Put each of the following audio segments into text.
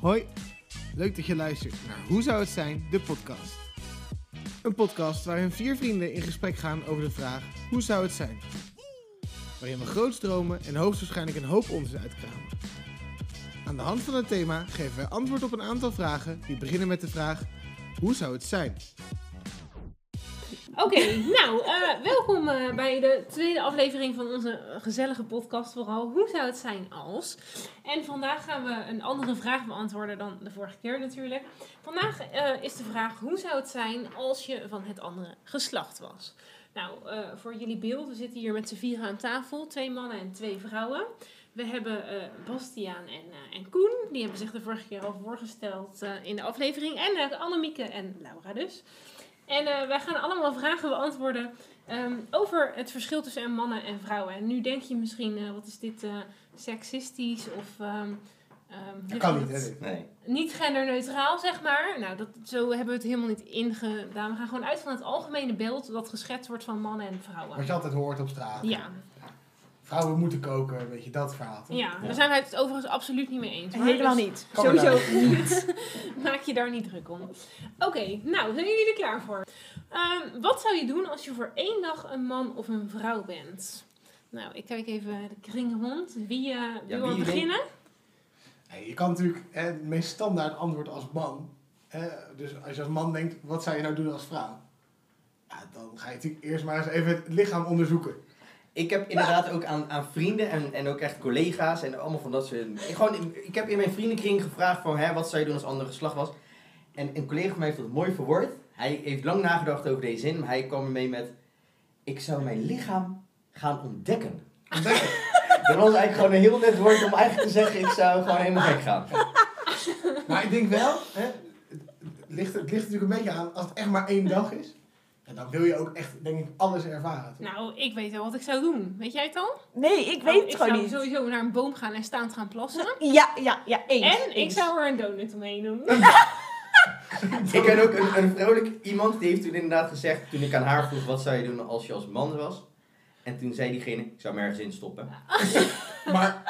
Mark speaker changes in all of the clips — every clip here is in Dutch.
Speaker 1: Hoi, leuk dat je luistert naar Hoe zou het zijn, de podcast. Een podcast waarin vier vrienden in gesprek gaan over de vraag hoe zou het zijn. Waarin we groots dromen en hoogstwaarschijnlijk een hoop onzin uitkramen. Aan de hand van het thema geven wij antwoord op een aantal vragen die beginnen met de vraag hoe zou het zijn.
Speaker 2: Oké, nou, eh, welkom eh, bij de tweede aflevering van onze gezellige podcast vooral. Hoe zou het zijn als? En vandaag gaan we een andere vraag beantwoorden dan de vorige keer natuurlijk. Vandaag eh, is de vraag, hoe zou het zijn als je van het andere geslacht was? Nou, eh, voor jullie beeld, we zitten hier met z'n vieren aan tafel. Twee mannen en twee vrouwen. We hebben eh, Bastiaan en, eh, en Koen. Die hebben zich de vorige keer al voorgesteld eh, in de aflevering. En eh, Annemieke en Laura dus. En eh, wij gaan allemaal vragen beantwoorden ehm, over het verschil tussen mannen en vrouwen. En nu denk je misschien, eh, wat is dit eh, seksistisch of... ehm, ehm, hoe zeg je dat?
Speaker 3: Nee.
Speaker 2: niet genderneutraal, zeg maar. Nou, dat, zo hebben we het helemaal niet ingedaan. We gaan gewoon uit van het algemene beeld dat geschetst wordt van mannen en vrouwen.
Speaker 1: je altijd hoort op straat.
Speaker 2: Ja,
Speaker 1: Vrouwen moeten koken, weet je, dat verhaal.
Speaker 2: ja, daar zijn wij het overigens absoluut niet mee eens. hoor.
Speaker 4: Helemaal
Speaker 2: Dus
Speaker 4: niet.
Speaker 1: Kan maar
Speaker 3: nou
Speaker 4: Sowieso niet.
Speaker 2: Maak je daar niet druk om. Oké, nou, zijn jullie er klaar voor? Ehm, wat zou je doen als je voor één dag een man of een vrouw bent? Nou, ik kijk even de kring rond. Wie eh, wil
Speaker 3: wie
Speaker 2: er
Speaker 3: wil-
Speaker 2: beginnen?
Speaker 1: Hey, je kan natuurlijk hè, het meest standaard antwoord als man. Hè, dus als je als man denkt, wat zou je nou doen als vrouw? Ja, dan ga je natuurlijk eerst maar eens even het lichaam onderzoeken.
Speaker 3: Ik heb inderdaad ook aan, aan vrienden en, en ook echt collega's en allemaal van dat soort... Ik, gewoon, ik heb in mijn vriendenkring gevraagd van, hè, wat zou je doen als ander geslacht was? En een collega van mij heeft dat mooi verwoord. Hij heeft lang nagedacht over deze zin, maar hij kwam ermee met... Ik zou mijn lichaam gaan ontdekken.
Speaker 1: Ontdekken.
Speaker 3: Dat was eigenlijk gewoon een heel net woord om eigenlijk te zeggen, ik zou gewoon helemaal gek gaan.
Speaker 1: maar ik denk wel, hè, het, het ligt, het ligt natuurlijk een beetje aan, als het echt maar één dag is, en dan wil je ook echt, denk ik, alles ervaren. toch?
Speaker 2: Nou, ik weet wel wat ik zou doen. Weet jij het al?
Speaker 4: Nee, ik
Speaker 2: Nou,
Speaker 4: weet het gewoon
Speaker 2: Ik zou
Speaker 4: niet.
Speaker 2: sowieso naar een boom gaan en staand gaan plassen.
Speaker 4: Ja, ja, ja, eens.
Speaker 2: En ik
Speaker 4: eens.
Speaker 2: zou er een donut omheen doen.
Speaker 3: Ik ken ook een, een vrolijk iemand die heeft toen inderdaad gezegd, toen ik aan haar vroeg wat zou je doen als je als man was. En toen zei diegene, ik zou me ergens in stoppen.
Speaker 1: Maar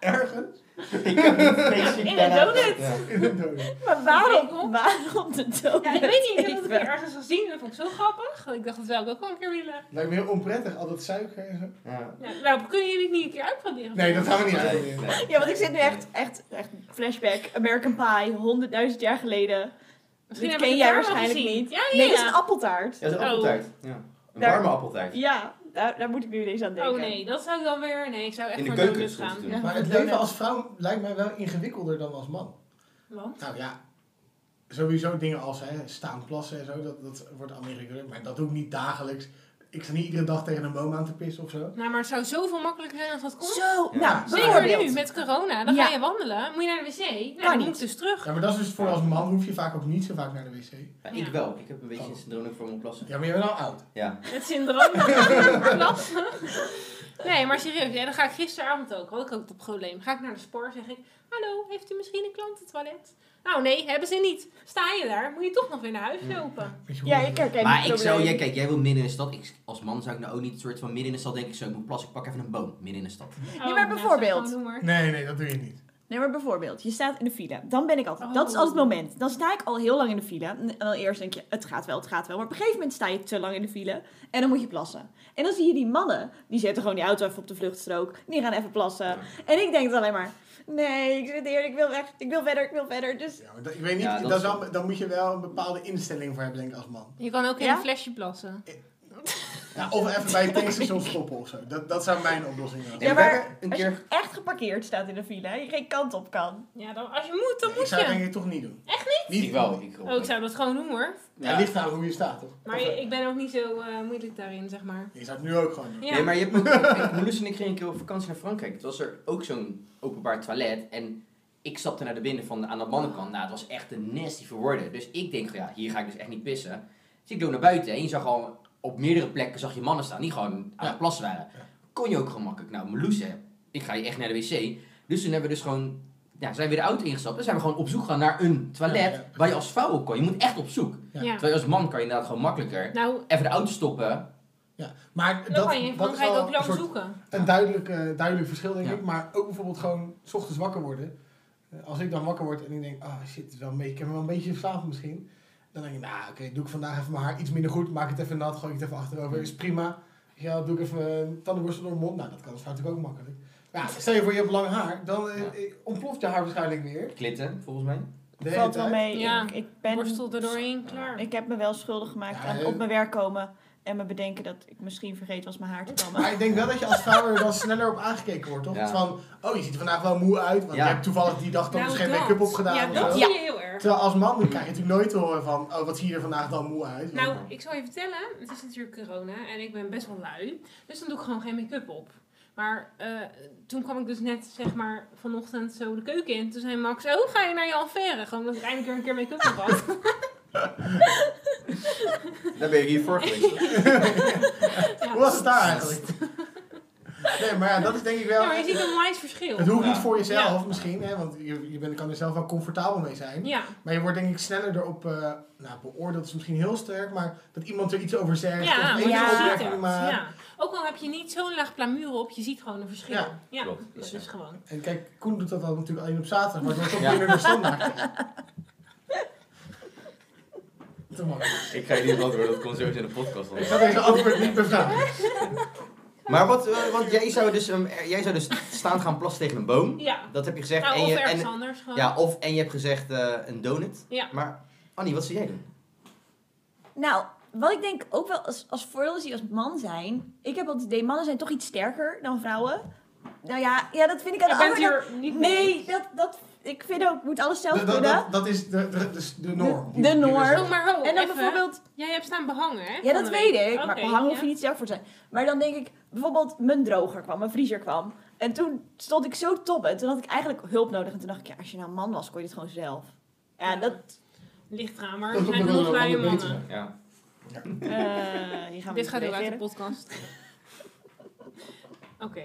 Speaker 1: er- ergens,
Speaker 3: Ik heb niet vreselijk
Speaker 2: In een
Speaker 3: daarna-
Speaker 2: donut.
Speaker 3: Ja.
Speaker 1: in een donut.
Speaker 4: Maar
Speaker 2: Ik weet
Speaker 4: waarom, waarom de dood?
Speaker 2: Ja, ik weet niet, ik heb dat een keer ergens gezien. Dat vond ik zo grappig. Ik dacht, dat zou ik ook wel een keer willen.
Speaker 1: Lijkt me heel onprettig, al dat suiker en zo.
Speaker 3: Ja.
Speaker 2: Nou, nou, kunnen jullie het niet een keer uitproberen?
Speaker 1: Nee, dat gaan we niet
Speaker 3: Nee,
Speaker 1: aan.
Speaker 3: nee.
Speaker 4: Ja, want ik zit nu echt, echt, echt flashback. American Pie, honderdduizend jaar geleden. Dit
Speaker 2: heb ik
Speaker 4: ken
Speaker 2: het
Speaker 4: jij
Speaker 2: daar wel
Speaker 4: waarschijnlijk
Speaker 2: gezien.
Speaker 4: niet.
Speaker 2: Ja, ja,
Speaker 4: Nee, dat is
Speaker 2: ja.
Speaker 4: een appeltaart.
Speaker 3: Ja, dat is een
Speaker 2: Oh.
Speaker 3: appeltaart. Ja. Een
Speaker 4: Daar-
Speaker 3: warme appeltaart.
Speaker 4: Ja, daar, daar moet ik nu ineens aan denken.
Speaker 2: Oh nee, dat zou ik dan weer... Nee, ik zou echt
Speaker 3: In de
Speaker 2: voor
Speaker 3: keuken
Speaker 2: donuts
Speaker 3: stond
Speaker 2: gaan.
Speaker 3: ze toen.
Speaker 4: Ja.
Speaker 1: Maar het leven als vrouw lijkt mij wel ingewikkelder dan als man.
Speaker 2: Want?
Speaker 1: Nou ja, sowieso dingen als hè, staan plassen en zo, dat, dat wordt allemaal ingewikkeld. Maar dat doe ik niet dagelijks. Ik sta niet iedere dag tegen een boom aan te pissen of zo.
Speaker 2: Nou, maar het zou zoveel makkelijker zijn als dat kon.
Speaker 4: Zo,
Speaker 3: Ja.
Speaker 4: nou,
Speaker 2: Zeker
Speaker 4: bijvoorbeeld.
Speaker 2: nu, met corona. Dan
Speaker 4: Ja.
Speaker 2: ga je wandelen. Moet je naar de wc? Nou,
Speaker 4: Kan
Speaker 2: dan moet
Speaker 4: niet.
Speaker 2: je dus terug.
Speaker 1: Ja, maar dat is dus voor als man hoef je vaak ook niet zo vaak naar de wc.
Speaker 3: Ja, ik wel. Ik heb een beetje een syndroom ook voor mijn plassen.
Speaker 1: Ja, maar je bent al oud.
Speaker 3: Ja.
Speaker 2: Het syndroom van plassen. Nee, maar serieus. Ja, dan ga ik gisteravond ook. Had ik ook dat probleem. Ga ik naar de spoor, zeg ik... Hallo, heeft u misschien een klantentoilet? Nou nee, hebben ze niet. Sta je daar, moet je toch nog weer naar
Speaker 1: Hmm.
Speaker 2: huis lopen.
Speaker 1: Weet je hoe
Speaker 4: Ja,
Speaker 1: dat
Speaker 4: ik
Speaker 1: is?
Speaker 4: herken
Speaker 3: Maar
Speaker 4: het
Speaker 3: ik zou,
Speaker 4: probleem.
Speaker 3: jij, kijk, jij wil midden in de stad. Ik, als man zou ik nou ook niet een soort van midden in de stad denken, zo, ik moet plassen, ik pak even een boom, midden in de stad.
Speaker 2: Oh,
Speaker 4: maar bijvoorbeeld.
Speaker 2: nou, zeg gewoon, doe maar.
Speaker 1: Nee, nee, dat doe je niet.
Speaker 4: Nee, maar bijvoorbeeld, je staat in de file. Dan ben ik altijd,
Speaker 2: Oh.
Speaker 4: dat is altijd het moment. Dan sta ik al heel lang in de file. En dan eerst denk je, het gaat wel, het gaat wel. Maar op een gegeven moment sta je te lang in de file. En dan moet je plassen. En dan zie je die mannen, die zetten gewoon die auto even op de vluchtstrook. Die gaan even plassen. En ik denk dan alleen maar, nee, ik zit hier, ik wil weg. Ik wil verder, ik wil verder. Dus
Speaker 1: Ja, maar dat, ik weet niet,
Speaker 3: Ja, dat
Speaker 1: dat
Speaker 3: is
Speaker 1: is wel- dan moet je wel een bepaalde instelling voor hebben, denk ik, als man.
Speaker 2: Je kan ook in
Speaker 4: Ja?
Speaker 2: een flesje plassen.
Speaker 1: Ja, of even bij het tankstation stoppen of zo. Dat, dat zou mijn oplossing zijn.
Speaker 3: Ja,
Speaker 4: Ja,
Speaker 3: we
Speaker 4: maar
Speaker 3: hebben een
Speaker 4: als
Speaker 3: keer...
Speaker 4: je echt geparkeerd staat in de file, en je geen kant op kan.
Speaker 2: Ja, dan, als je moet, dan
Speaker 1: Ik
Speaker 2: moet
Speaker 1: zou het
Speaker 2: je.
Speaker 1: denk ik toch niet doen. Echt niet?
Speaker 3: Ik wel. Ik,
Speaker 2: Oh, ik zou dat gewoon doen hoor.
Speaker 1: Ja, ligt aan hoe je staat, toch?
Speaker 2: Maar
Speaker 1: Of,
Speaker 2: je- ik ben ook niet zo eh, moeilijk daarin, zeg maar.
Speaker 1: je zou het nu ook gewoon doen.
Speaker 2: Ja.
Speaker 3: Nee, maar je hebt ook, ik, Meloes en ik gingen een keer op vakantie naar Frankrijk. Het was er ook zo'n openbaar toilet. En ik stapte naar de binnen van, aan de mannenkant. Nou, het was echt een nasty voor woorden. Dus ik denk, ja, hier ga ik dus echt niet pissen. Dus ik doe naar buiten. En je zag al op meerdere plekken zag je mannen staan die gewoon aan
Speaker 1: Ja.
Speaker 3: het plassen waren.
Speaker 1: Ja.
Speaker 3: Kon je ook gemakkelijk. Nou, Meloes, hè, ik ga hier echt naar de wc. Dus toen hebben we dus gewoon... Ja, zijn we de auto ingestapt en zijn we gewoon op zoek gegaan naar een toilet
Speaker 1: Ja, ja.
Speaker 3: waar je als vrouw op kon. Je moet echt op zoek.
Speaker 1: Ja.
Speaker 2: Ja.
Speaker 3: Terwijl je als man kan je inderdaad gewoon makkelijker.
Speaker 2: Nou,
Speaker 3: Even de auto stoppen.
Speaker 1: Ja, maar
Speaker 2: Dan
Speaker 1: dat,
Speaker 2: kan je in
Speaker 1: dat is
Speaker 2: Frankrijk
Speaker 1: wel
Speaker 2: ook lang
Speaker 1: een, soort-
Speaker 2: zoeken.
Speaker 1: een duidelijk, eh, duidelijk verschil, denk
Speaker 3: Ja.
Speaker 1: ik. Maar ook bijvoorbeeld gewoon 's ochtends wakker worden. Eh, Als ik dan wakker word en ik denk, ah shit, het is wel een beetje, ik heb me wel een beetje verslaafd misschien. Dan denk ik, nou oké, doe ik vandaag even mijn haar iets minder goed. Maak het even nat, gooi ik het even achterover. Is prima. Ja, doe ik even een tandenborstel door mijn mond. Nou, dat kan dus natuurlijk ook makkelijk. Maar ja, stel je voor, je hebt lang haar. Dan eh,
Speaker 3: Ja.
Speaker 1: eh, ontploft je haar waarschijnlijk weer.
Speaker 3: Klitten, volgens mij.
Speaker 1: De hele
Speaker 4: Valt wel
Speaker 1: tijd.
Speaker 4: mee.
Speaker 2: Ja.
Speaker 4: Ik, ik ben,
Speaker 2: Borstel er doorheen, klaar.
Speaker 4: ik heb me wel schuldig gemaakt
Speaker 1: Ja,
Speaker 4: aan
Speaker 1: eh.
Speaker 4: op mijn werk komen en me bedenken dat ik misschien vergeten was mijn haar te kammen.
Speaker 1: Maar ik denk wel dat je als vrouw er dan sneller op aangekeken wordt, toch?
Speaker 3: Ja.
Speaker 1: Het is Van, oh, je ziet er vandaag wel moe uit, want
Speaker 3: Ja.
Speaker 1: je hebt toevallig die dag dan
Speaker 2: Nou,
Speaker 1: dus geen
Speaker 2: dat.
Speaker 1: make-up op gedaan.
Speaker 2: Ja,
Speaker 1: of
Speaker 2: dat
Speaker 1: zo.
Speaker 2: zie je heel erg.
Speaker 1: Terwijl als man dan krijg je natuurlijk nooit te horen van, oh, wat zie je er vandaag dan moe uit.
Speaker 2: Nou, ik zal je vertellen, het is natuurlijk corona en ik ben best wel lui. Dus dan doe ik gewoon geen make-up op. Maar eh, toen kwam ik dus net, zeg maar, vanochtend zo de keuken in. Toen zei Max, oh, ga je naar je affaire? Gewoon omdat ik eindelijk weer een keer make-up op had.
Speaker 3: Daar ben je hier voor geweest.
Speaker 2: Ja.
Speaker 1: Hoe was het daar eigenlijk? nee, maar ja, dat is denk ik wel...
Speaker 2: Ja, maar je ziet een wijs verschil.
Speaker 1: het hoeft
Speaker 3: Ja.
Speaker 1: niet voor jezelf
Speaker 2: Ja.
Speaker 1: misschien, hè, want je, je bent, kan er zelf wel comfortabel mee zijn.
Speaker 2: Ja,
Speaker 1: Maar je wordt denk ik sneller erop, eh nou, beoordeeld is misschien heel sterk, maar dat iemand er iets over zegt. of
Speaker 2: ja,
Speaker 1: een
Speaker 2: maar
Speaker 4: ja,
Speaker 2: je ziet
Speaker 1: opmerking
Speaker 2: het.
Speaker 1: maakt.
Speaker 2: Ja. Ook al heb je niet zo'n laag plamuur op, je ziet gewoon een verschil.
Speaker 1: Ja.
Speaker 2: Ja,
Speaker 3: Klopt, is
Speaker 2: dat
Speaker 3: zo.
Speaker 2: is gewoon.
Speaker 1: En kijk, Koen doet dat dan natuurlijk alleen op zaterdag, maar het wordt toch
Speaker 3: Ja.
Speaker 1: minder de standaard. Te makkelijk.
Speaker 3: ik ga je niet antwoorden, dat komt sowieso in de podcast.
Speaker 1: Ik ga deze antwoord niet bevragen.
Speaker 3: Maar wat, eh, want jij zou, dus, ehm, eh, jij zou dus staan gaan plassen tegen een boom.
Speaker 2: Ja,
Speaker 3: Dat heb je gezegd.
Speaker 2: nou,
Speaker 3: en
Speaker 2: of
Speaker 3: je,
Speaker 2: ergens
Speaker 3: en,
Speaker 2: anders gewoon.
Speaker 3: ja, of, en je hebt gezegd eh, een donut.
Speaker 2: Ja.
Speaker 3: Maar Annie, wat zou jij doen?
Speaker 4: Nou, wat ik denk ook wel als, als voordeel is die als man zijn. Ik heb altijd het idee, mannen zijn toch iets sterker dan vrouwen. Nou ja, ja dat vind ik aan
Speaker 2: Je
Speaker 4: de
Speaker 2: bent
Speaker 4: andere
Speaker 2: hier niet
Speaker 4: kant-
Speaker 2: mee.
Speaker 4: Nee, dat, dat, ik vind ook, ik moet alles zelf
Speaker 1: Dat, dat,
Speaker 4: kunnen.
Speaker 1: dat, dat is de, de, de, de norm.
Speaker 4: De- de norm.
Speaker 2: Oh, maar ho,
Speaker 4: en dan
Speaker 2: even.
Speaker 4: bijvoorbeeld,
Speaker 2: Jij hebt staan behangen, hè?
Speaker 4: ja
Speaker 2: van
Speaker 4: dat
Speaker 2: de
Speaker 4: weet
Speaker 2: week.
Speaker 4: ik, maar
Speaker 2: Oké,
Speaker 4: behangen
Speaker 2: ja.
Speaker 4: hoef je niet zelf voor te zijn. Maar dan denk ik, bijvoorbeeld mijn droger kwam, mijn vriezer kwam. En toen stond ik zo toppen. Toen had ik eigenlijk hulp nodig. En toen dacht ik, ja, als je nou een man was, kon je dit gewoon zelf. Ja,
Speaker 2: Ja.
Speaker 4: dat...
Speaker 2: Ligt eraan, maar
Speaker 1: Dat
Speaker 2: er
Speaker 1: is ook
Speaker 2: zijn
Speaker 1: nog
Speaker 2: genoeg
Speaker 1: wel
Speaker 2: luie
Speaker 1: een
Speaker 2: mannen.
Speaker 1: beetje.
Speaker 3: Ja.
Speaker 4: eh, hier gaan we
Speaker 2: Dit gaat ook uit de
Speaker 4: reageren.
Speaker 2: podcast. Oké.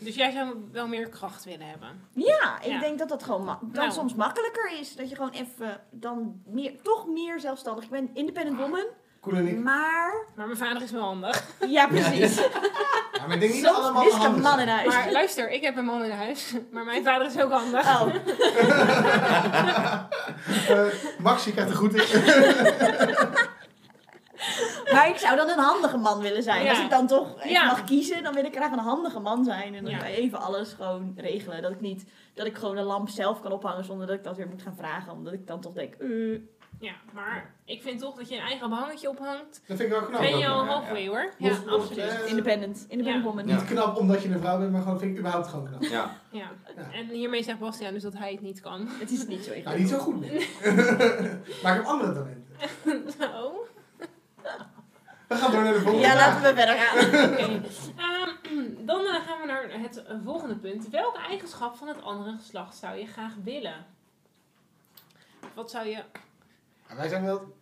Speaker 2: Dus jij zou wel meer kracht willen hebben.
Speaker 4: Ja, ik
Speaker 2: Ja.
Speaker 4: denk dat dat gewoon ma- dan
Speaker 2: Nou.
Speaker 4: soms makkelijker is. Dat je gewoon even dan meer, toch meer zelfstandig. Ik ben independent woman,
Speaker 1: Koen en ik.
Speaker 4: maar...
Speaker 2: Maar mijn vader is wel handig.
Speaker 4: Ja, precies.
Speaker 1: Ja, maar ik denk niet dat
Speaker 4: Soms
Speaker 1: allemaal
Speaker 4: is de
Speaker 1: handig
Speaker 4: man in
Speaker 1: zijn.
Speaker 4: huis.
Speaker 2: Maar luister, ik heb een man in huis. Maar mijn vader is ook handig.
Speaker 4: Oh,
Speaker 1: Eh, Max, je krijgt er goed in.
Speaker 4: maar ik zou dan een handige man willen zijn.
Speaker 2: Ja.
Speaker 4: Als ik dan toch even
Speaker 2: Ja.
Speaker 4: mag kiezen, dan wil ik graag een handige man zijn. En dan
Speaker 2: Ja.
Speaker 4: even alles gewoon regelen. Dat ik niet, dat ik gewoon een lamp zelf kan ophangen zonder dat ik dat weer moet gaan vragen. Omdat ik dan toch denk, eh,
Speaker 2: Ja, maar ik vind toch dat je een eigen behangetje ophangt.
Speaker 1: Dat vind ik wel knap.
Speaker 2: ben je
Speaker 3: ook
Speaker 2: al
Speaker 3: wel, ja,
Speaker 2: halfway hoor. Ja,
Speaker 1: Los- los-
Speaker 2: absoluut.
Speaker 1: eh,
Speaker 4: independent. Independent
Speaker 2: Ja.
Speaker 4: woman.
Speaker 3: Ja.
Speaker 1: Niet knap omdat je een vrouw bent, maar gewoon vind ik überhaupt gewoon knap.
Speaker 3: ja.
Speaker 2: Ja.
Speaker 1: Ja.
Speaker 2: En hiermee zegt Bastiaan dus dat hij het niet kan.
Speaker 4: Het is niet zo
Speaker 1: Nou,
Speaker 4: ingewikkeld.
Speaker 1: niet zo goed. nee. maar ik heb andere talenten.
Speaker 2: Oh.
Speaker 1: We gaan door naar de volgende
Speaker 4: Ja,
Speaker 1: vraag.
Speaker 4: laten we verder gaan.
Speaker 2: Oké. Ehm, dan eh, gaan we naar het volgende punt. Welke eigenschap van het andere geslacht zou je graag willen? Wat zou je
Speaker 1: Ja, Wij zijn wel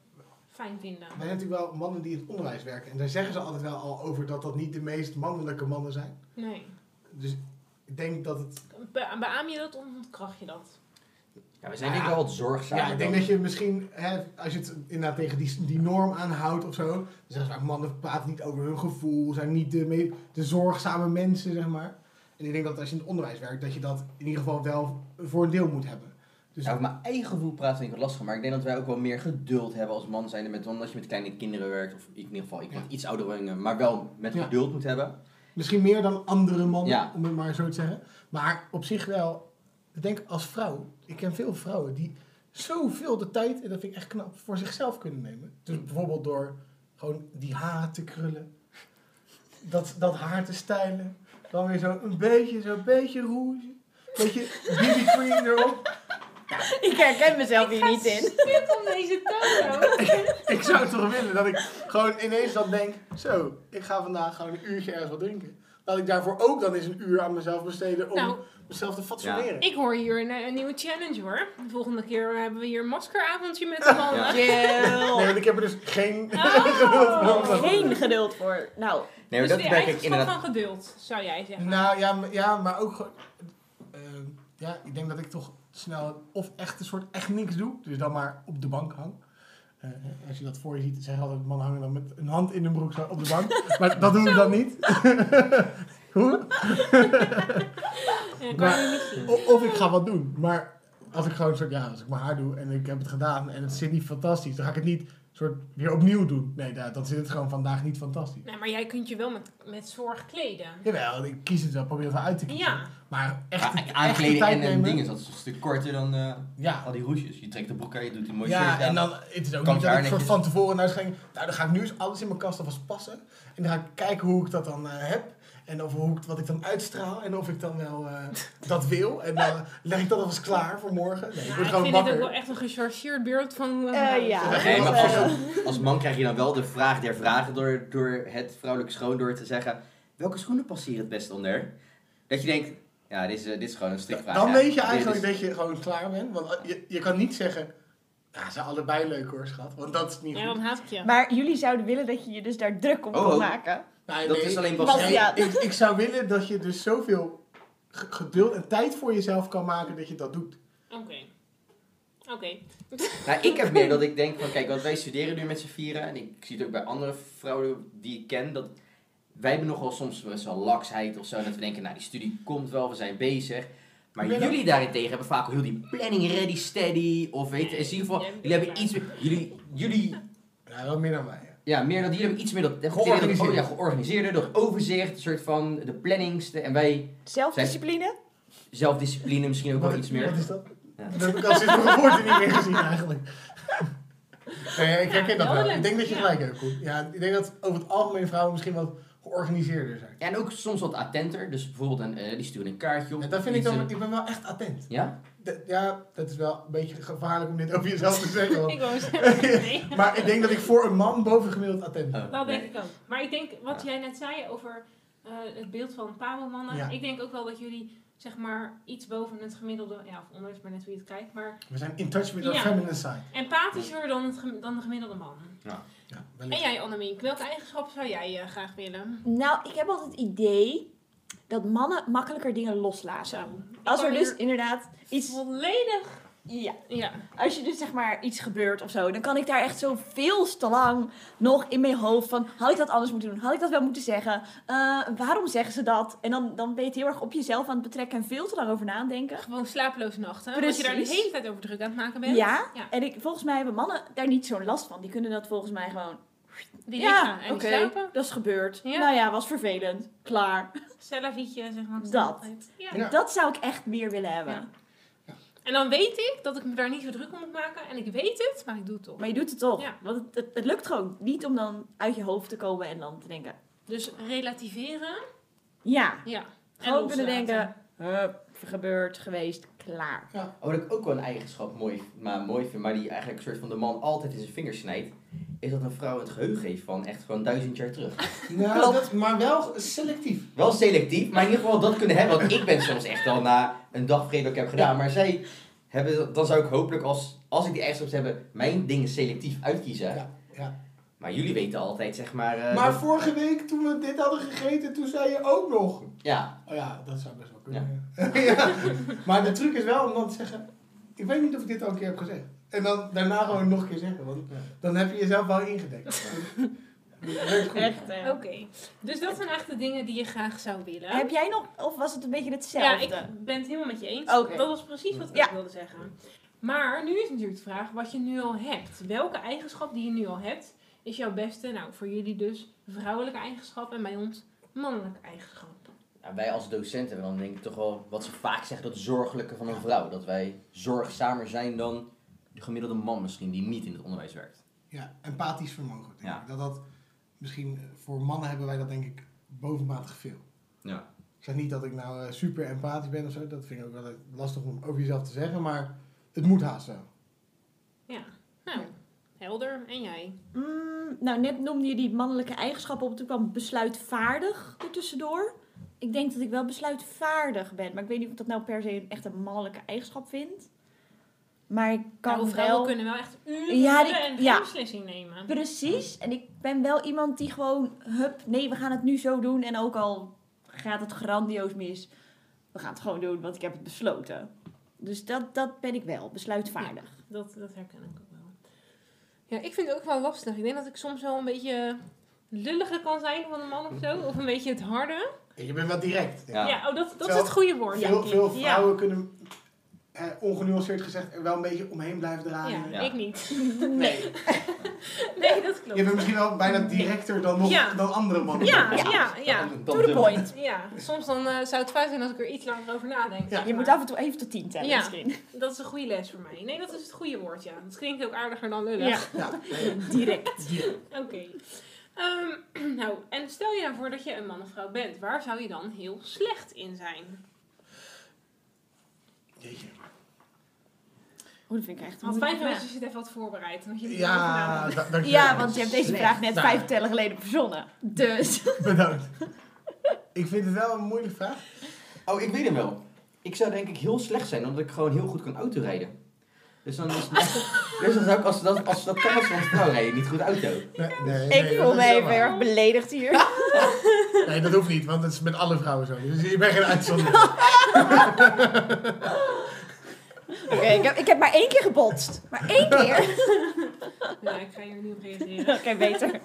Speaker 2: fijn vinden?
Speaker 1: Wij zijn natuurlijk wel mannen die in het onderwijs werken. En daar zeggen ze altijd wel al over dat dat niet de meest mannelijke mannen zijn.
Speaker 2: Nee.
Speaker 1: Dus ik denk dat het...
Speaker 2: Be- beaam je dat of ontkracht je dat?
Speaker 3: ja, we zijn denk ik wel wat zorgzaam.
Speaker 1: ja, ik denk dat je misschien, hè, als je het inderdaad tegen die, die norm aanhoudt of zo. Dan zeggen ze, "Ah, mannen praten niet over hun gevoel. Zijn niet de, me- de zorgzame mensen, zeg maar. En ik denk dat als je in het onderwijs werkt, dat je dat in ieder geval wel voor een deel moet hebben. Dus
Speaker 3: Ja, over mijn eigen gevoel praten vind ik wat lastig, maar ik denk dat wij ook wel meer geduld hebben als man zijnde, met, omdat je met kleine kinderen werkt, of ik in ieder geval, ik
Speaker 1: Ja.
Speaker 3: word iets ouder, worden, maar wel met
Speaker 1: Ja.
Speaker 3: geduld moet hebben.
Speaker 1: misschien meer dan andere mannen,
Speaker 3: Ja.
Speaker 1: om het maar zo te zeggen. Maar op zich wel, ik denk als vrouw, ik ken veel vrouwen die zoveel de tijd, en dat vind ik echt knap, voor zichzelf kunnen nemen. Dus bijvoorbeeld door gewoon die haar te krullen, dat, dat haar te stijlen, dan weer zo een beetje, zo'n beetje rouge, een beetje BB cream erop.
Speaker 4: Ik herken mezelf hier niet in.
Speaker 2: Stuk om deze toon.
Speaker 1: Ik zou toch willen dat ik gewoon ineens dan denk, zo, ik ga vandaag gewoon een uurtje ergens wat drinken. Dat ik daarvoor ook dan eens een uur aan mezelf besteden om
Speaker 2: Nou.
Speaker 1: mezelf te fatsoeneren.
Speaker 2: Ik hoor hier een, een nieuwe challenge hoor. De volgende keer eh, hebben we hier een maskeravondje met z'n mannen.
Speaker 3: Ja.
Speaker 1: Nee,
Speaker 4: Chill.
Speaker 1: want ik heb er dus geen
Speaker 2: Oh.
Speaker 4: Geen geduld voor. Nou,
Speaker 3: Nee, maar
Speaker 2: dus
Speaker 3: dat
Speaker 2: weer
Speaker 3: merk ik
Speaker 2: eigenschap
Speaker 3: inderdaad.
Speaker 2: van geduld, zou jij zeggen.
Speaker 1: Nou ja, maar- ja maar ook gewoon. ehm, ja, ik denk dat ik toch snel of echt een soort echt niks doe. Dus dan maar op de bank hang. Eh, eh, als je dat voor je ziet, zeggen altijd man hangen dan met een hand in de broek zo op de bank. Maar dat doen we dan niet. Hoe?
Speaker 2: Ja, Eh, kan
Speaker 1: Maar-
Speaker 2: je niet zien.
Speaker 1: O- Of ik ga wat doen. Maar als ik gewoon soort, ja, als ik mijn haar doe en ik heb het gedaan en het zit niet fantastisch, dan ga ik het niet soort weer opnieuw doen. Nee, da- dan zit het gewoon vandaag niet fantastisch.
Speaker 2: Nee, maar jij kunt je wel met, met zorg kleden.
Speaker 1: Jawel, ik kies het wel, probeer het wel uit te kiezen.
Speaker 2: Ja.
Speaker 1: Maar echt,
Speaker 3: Ja,
Speaker 1: echt
Speaker 3: aankleding
Speaker 1: tijd
Speaker 3: en, en
Speaker 1: nemen.
Speaker 3: dingen, dat is een stuk korter dan eh,
Speaker 1: Ja,
Speaker 3: al die roesjes. Je trekt de broek aan, je doet een mooi
Speaker 1: ja
Speaker 3: shirt aan.
Speaker 1: en dan het is ook
Speaker 3: Kan
Speaker 1: niet
Speaker 3: daar
Speaker 1: dat ik soort
Speaker 3: netjes-
Speaker 1: van tevoren naar ging. Nou, dan ga ik nu eens alles in mijn kast alvast passen. En dan ga ik kijken hoe ik dat dan eh, heb. En of hoe ik, wat ik dan uitstraal en of ik dan wel eh, dat wil. En dan leg ik dat alvast klaar voor morgen. Nee, ik
Speaker 2: Ja,
Speaker 1: word
Speaker 2: ik
Speaker 1: gewoon
Speaker 2: vind dit ook
Speaker 1: wakker.
Speaker 2: wel echt een gechargeerd beeld van hoe
Speaker 4: Eh,
Speaker 2: vrouwen
Speaker 4: ja.
Speaker 2: zijn.
Speaker 3: Nee, maar
Speaker 4: dat,
Speaker 3: als,
Speaker 4: eh,
Speaker 3: als man krijg je dan wel de vraag der vragen door, door het vrouwelijke schoon door te zeggen... Welke schoenen passen hier het best onder? Dat je denkt, ja, dit is, eh, dit is gewoon een strikvraag.
Speaker 1: Dan
Speaker 3: ja.
Speaker 1: weet je
Speaker 3: Dit
Speaker 1: eigenlijk
Speaker 3: is-
Speaker 1: dat je gewoon klaar bent. Want eh, je, je kan niet zeggen, ja, ze zijn allebei leuk hoor schat. Want dat is niet
Speaker 2: Ja,
Speaker 1: goed.
Speaker 2: dan haat ik je.
Speaker 4: Maar jullie zouden willen dat je je dus daar druk om
Speaker 3: Oh,
Speaker 4: kon
Speaker 3: oh.
Speaker 4: maken.
Speaker 1: Nee,
Speaker 3: Dat
Speaker 1: nee,
Speaker 3: is alleen
Speaker 1: ik-
Speaker 4: Bas.
Speaker 1: nee,
Speaker 4: Ja.
Speaker 1: ik, ik zou willen dat je dus zoveel ge- geduld en tijd voor jezelf kan maken dat je dat doet.
Speaker 2: Oké. Oké.
Speaker 3: Nou, ik heb meer dat ik denk van, kijk, want wij studeren nu met z'n vieren. En ik zie het ook bij andere vrouwen die ik ken, dat wij hebben nogal soms wel eens wel laksheid of zo. Dat we denken, nou, die studie komt wel, we zijn bezig. Maar
Speaker 1: Ben je
Speaker 3: jullie daarentegen hebben vaak heel die planning ready, steady. Of weet je, in ieder geval,
Speaker 2: Jij bent
Speaker 3: jullie hebben
Speaker 2: klaar.
Speaker 3: iets meer, jullie, jullie,
Speaker 1: Ja, wel meer dan wij. hè.
Speaker 3: ja, meer dat jullie hebben iets meer dat, dat
Speaker 1: Georganiseerd.
Speaker 3: oh ja, georganiseerde, dat overzicht, een soort van de planningste. En wij
Speaker 4: Zelfdiscipline?
Speaker 3: zelfdiscipline misschien ook wel iets meer.
Speaker 1: Wat is dat?
Speaker 3: Ja.
Speaker 1: Dat heb ik al sinds mijn geboorte niet meer gezien eigenlijk. Nee, ik herken dat
Speaker 2: wel
Speaker 1: wel.
Speaker 2: leuk.
Speaker 1: Ik denk dat je
Speaker 2: Ja.
Speaker 1: gelijk hebt, Koen. Ja, ik denk dat over het algemeen vrouwen misschien wat georganiseerder zijn.
Speaker 3: Ja, en ook soms wat attenter. Dus bijvoorbeeld, een, eh, die sturen een kaartje op.
Speaker 1: En dat vind ik
Speaker 3: iets,
Speaker 1: dan,
Speaker 3: eh,
Speaker 1: ik ben wel echt attent.
Speaker 3: Ja?
Speaker 1: Dat- ja, dat is wel een beetje gevaarlijk om dit over jezelf te zeggen. want-
Speaker 2: Ik wou zeggen, nee.
Speaker 1: maar ik denk dat ik voor een man bovengemiddeld attent ben.
Speaker 3: Oh,
Speaker 2: Dat
Speaker 3: nee.
Speaker 2: denk ik ook. Maar ik denk, wat jij net zei over eh, het beeld van pabo-mannen.
Speaker 1: Ja.
Speaker 2: Ik denk ook wel dat jullie, zeg maar, iets boven het gemiddelde... Ja, of onder is maar net hoe je het kijkt. Maar
Speaker 1: We zijn in touch with our
Speaker 2: Ja.
Speaker 1: feminine side.
Speaker 2: empathischer dan, het, gem- dan de gemiddelde man.
Speaker 1: Ja,
Speaker 2: En
Speaker 1: wellicht.
Speaker 2: jij, Annemiek, welke eigenschappen zou jij eh, graag willen?
Speaker 4: Nou, ik heb altijd het idee dat mannen makkelijker dingen loslaten.
Speaker 2: Zo.
Speaker 4: Als er
Speaker 2: kan
Speaker 4: dus
Speaker 2: hier-
Speaker 4: inderdaad iets...
Speaker 2: Volledig.
Speaker 4: Ja,
Speaker 2: Ja.
Speaker 4: als je dus zeg maar iets gebeurt of zo, dan kan ik daar echt zo veel te lang nog in mijn hoofd van, had ik dat anders moeten doen? Had ik dat wel moeten zeggen? Eh, waarom zeggen ze dat? En dan, dan ben je het heel erg op jezelf aan het betrekken en veel te lang over nadenken.
Speaker 2: Gewoon slapeloze nachten. Omdat je daar de
Speaker 4: Precies.
Speaker 2: hele tijd over druk aan het maken bent.
Speaker 4: Ja,
Speaker 2: Ja.
Speaker 4: en ik, volgens mij hebben mannen daar niet zo'n last van. Die kunnen dat volgens mij gewoon...
Speaker 2: Die liggen en
Speaker 4: oké,
Speaker 2: die slapen.
Speaker 4: dat is gebeurd.
Speaker 2: Ja.
Speaker 4: Nou ja, was vervelend. Klaar.
Speaker 2: Cellavietje, zeg maar.
Speaker 4: Dat.
Speaker 2: altijd. Ja.
Speaker 1: Ja.
Speaker 4: Dat zou ik echt meer willen hebben.
Speaker 2: Ja. En dan weet ik dat ik me daar niet zo druk om moet maken. En ik weet het, maar ik doe het toch.
Speaker 4: Maar je doet het toch.
Speaker 2: Ja.
Speaker 4: Want het, het, het lukt gewoon niet om dan uit je hoofd te komen en dan te denken...
Speaker 2: Dus relativeren.
Speaker 4: Ja,
Speaker 2: Ja. En
Speaker 4: gewoon kunnen
Speaker 2: loslaten.
Speaker 4: denken... Hup, gebeurd, geweest, klaar.
Speaker 3: Oh, Wat ik ook wel een eigenschap mooi, maar mooi vind, maar die eigenlijk een soort van de man altijd in zijn vingers snijdt, is dat een vrouw het geheugen heeft van echt gewoon duizend jaar terug.
Speaker 1: Nou,
Speaker 4: Klopt.
Speaker 1: dat- maar wel selectief.
Speaker 3: Wel selectief, maar in ieder geval dat kunnen hebben, want ik ben soms echt al na een dag vergeten wat ik heb gedaan, maar zij hebben, dat- dan zou ik hopelijk als, als ik die eigenschap heb, mijn dingen selectief uitkiezen.
Speaker 1: Ja, ja.
Speaker 3: Maar jullie weten altijd, zeg maar, eh,
Speaker 1: Maar
Speaker 3: dat-
Speaker 1: vorige week toen we dit hadden gegeten, toen zei je ook nog.
Speaker 3: ja,
Speaker 1: Oh ja, dat zou best wel kunnen. Ja. Maar de truc is wel om dan te zeggen, ik weet niet of ik dit al een keer heb gezegd. En dan daarna gewoon nog een keer zeggen, want dan heb je jezelf wel ingedekt. Dat werkt goed.
Speaker 4: Echt, hè.
Speaker 2: Oké. Dus dat zijn echt de dingen die je graag zou willen.
Speaker 4: Heb jij nog... Of was het een beetje
Speaker 2: ja,
Speaker 4: hetzelfde?
Speaker 2: ik ben het helemaal met je eens.
Speaker 4: Oké.
Speaker 2: Dat was precies wat ik
Speaker 4: Ja.
Speaker 2: ook wilde zeggen. Maar nu is natuurlijk de vraag wat je nu al hebt. Welke eigenschap die je nu al hebt, is jouw beste, nou voor jullie dus, vrouwelijke eigenschap en bij ons mannelijke eigenschap.
Speaker 3: Ja, Nou, wij als docenten hebben dan denk ik toch wel wat ze vaak zeggen, dat zorgelijke van een vrouw. Dat wij zorgzamer zijn dan de gemiddelde man misschien, die niet in het onderwijs werkt.
Speaker 1: Ja, empathisch vermogen. Denk
Speaker 3: Ja.
Speaker 1: ik. Dat dat misschien eh, voor mannen hebben wij dat denk ik bovenmatig veel.
Speaker 3: Ja.
Speaker 1: Ik zeg niet dat ik nou eh, super empathisch ben of zo. Dat vind ik ook wel eh, lastig om over jezelf te zeggen, maar het moet haast wel.
Speaker 2: Ja, nou, helder. En jij?
Speaker 4: Mm, nou, net noemde je die mannelijke eigenschappen op. Toen kwam besluitvaardig er tussendoor. Ik denk dat ik wel besluitvaardig ben. Maar ik weet niet of ik dat nou per se een, echt een mannelijke eigenschap vind. Maar ik kan
Speaker 2: nou, vrouwen
Speaker 4: wel...
Speaker 2: kunnen wel echt uren
Speaker 4: Ja,
Speaker 2: ja,
Speaker 4: die-
Speaker 2: en geen
Speaker 4: ja.
Speaker 2: beslissing nemen.
Speaker 4: Precies. En ik ben wel iemand die gewoon... Hup, nee, we gaan het nu zo doen. En ook al gaat het grandioos mis. We gaan het gewoon doen, want ik heb het besloten. Dus dat, dat ben ik wel. Besluitvaardig.
Speaker 2: Dat, dat herken ik ook wel. Ja, ik vind het ook wel lastig. Ik denk dat ik soms wel een beetje lulliger kan zijn van een man of zo. Of een beetje het harde.
Speaker 1: Je bent wel direct.
Speaker 3: Ja.
Speaker 2: Ja, oh, dat, dat is
Speaker 1: Terwijl
Speaker 2: het goede woord, denk
Speaker 1: Veel,
Speaker 2: ik.
Speaker 1: veel
Speaker 2: ja.
Speaker 1: vrouwen kunnen, eh, ongenuanceerd gezegd, er wel een beetje omheen blijven draaien.
Speaker 2: Ja,
Speaker 3: Ja.
Speaker 2: ik niet.
Speaker 4: Nee.
Speaker 2: Nee, dat
Speaker 1: Je
Speaker 2: klopt.
Speaker 1: bent misschien wel bijna directer dan, nog,
Speaker 2: Ja.
Speaker 1: dan andere mannen.
Speaker 2: Ja, ja, ja.
Speaker 3: Dan-
Speaker 4: To
Speaker 3: dan-
Speaker 4: the point.
Speaker 2: Ja, soms dan eh, zou het fijn zijn als ik er iets langer over nadenk.
Speaker 1: Ja.
Speaker 4: Je moet af en toe even tot tien tellen
Speaker 2: Ja.
Speaker 4: misschien.
Speaker 2: Dat is een goede les voor mij. Nee, dat is het goede woord, ja. Dat klinkt ook aardiger dan lullig.
Speaker 1: Ja, nee,
Speaker 4: Direct.
Speaker 1: direct.
Speaker 2: Oké. Ehm, nou, en stel je nou voor dat je een man of vrouw bent. Waar zou je dan heel slecht in zijn?
Speaker 1: Jeetje.
Speaker 4: Hoe dat vind ik echt een
Speaker 2: Want fijn
Speaker 4: moeilijke
Speaker 2: geweest
Speaker 4: vraag.
Speaker 2: als je het even had voorbereid. En dat je
Speaker 1: Ja, da- dankjewel.
Speaker 4: Ja, want je hebt deze vraag net
Speaker 1: Nou.
Speaker 4: vijf tellen geleden verzonnen. Dus.
Speaker 1: Bedankt. Ik vind het wel een moeilijke vraag.
Speaker 3: Oh, ik weet hem wel. Ik zou denk ik heel slecht zijn, omdat ik gewoon heel goed kan autorijden. Dus dan is Dus dan zou ik, als, dat, als dat kan als van vrouw rijden, niet goed auto.
Speaker 1: Nee, nee,
Speaker 4: Ik
Speaker 1: nee,
Speaker 4: voel
Speaker 1: dat
Speaker 4: me
Speaker 1: is
Speaker 4: even
Speaker 1: jammer.
Speaker 4: heel erg beledigd hier.
Speaker 1: Nee, dat hoeft niet, want het is met alle vrouwen zo. Dus je bent geen
Speaker 4: Oh.
Speaker 1: uitzondering.
Speaker 4: Oké, ik, heb, ik heb maar één keer gebotst. Maar één keer.
Speaker 2: Nou, ik ga hier niet op reageren.
Speaker 4: Oké, beter.
Speaker 1: Ik,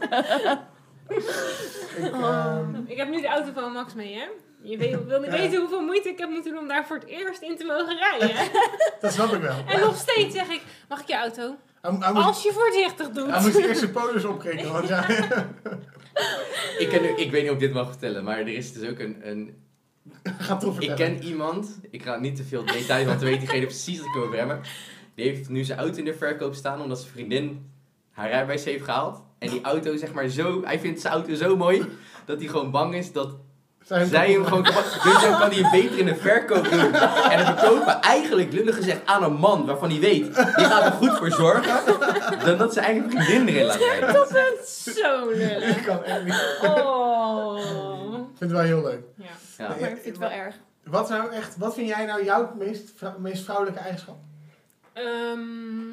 Speaker 1: ehm,
Speaker 2: Ik heb nu de auto van Max mee, hè? Je weet, wil niet
Speaker 1: Ja.
Speaker 2: weten hoeveel moeite ik heb moeten doen om daar voor het eerst in te mogen rijden.
Speaker 1: dat snap ik wel.
Speaker 2: En nog steeds zeg ik, mag ik je auto?
Speaker 1: Hij, hij moest,
Speaker 2: Als je voorzichtig
Speaker 1: hij
Speaker 2: doet.
Speaker 1: moest eerst zijn polis opkrikken. Want ja,
Speaker 5: Ik, ken, nu- ik weet niet of ik dit mag vertellen, maar er is dus ook een... een
Speaker 1: gaat toch
Speaker 5: ik
Speaker 1: vertellen.
Speaker 5: ken iemand, ik ga niet te veel details, want dan weet diegene precies wat ik over hem heb. Die heeft nu zijn auto in de verkoop staan, omdat zijn vriendin haar rijbewijs heeft gehaald. En die auto zeg maar zo, hij vindt zijn auto zo mooi, dat hij gewoon bang is dat
Speaker 1: Zijn
Speaker 5: zij hem gewoon kapot... Dus dan kan hij hem beter in de verkoop doen. En dan verkopen we eigenlijk lullig gezegd aan een man waarvan hij weet, die gaat er goed voor zorgen, dan dat zijn eigen vriendin erin laat rijden.
Speaker 2: Dat is zo
Speaker 1: Ik
Speaker 2: lullig.
Speaker 1: kan echt niet.
Speaker 2: Oh.
Speaker 1: Ik vind het wel heel leuk.
Speaker 2: Ja.
Speaker 3: Oh,
Speaker 5: Ja.
Speaker 4: Maar ik vind het wel erg.
Speaker 1: Wat, nou echt, wat vind jij nou jouw meest, vrou- meest vrouwelijke eigenschap?
Speaker 2: Ehm,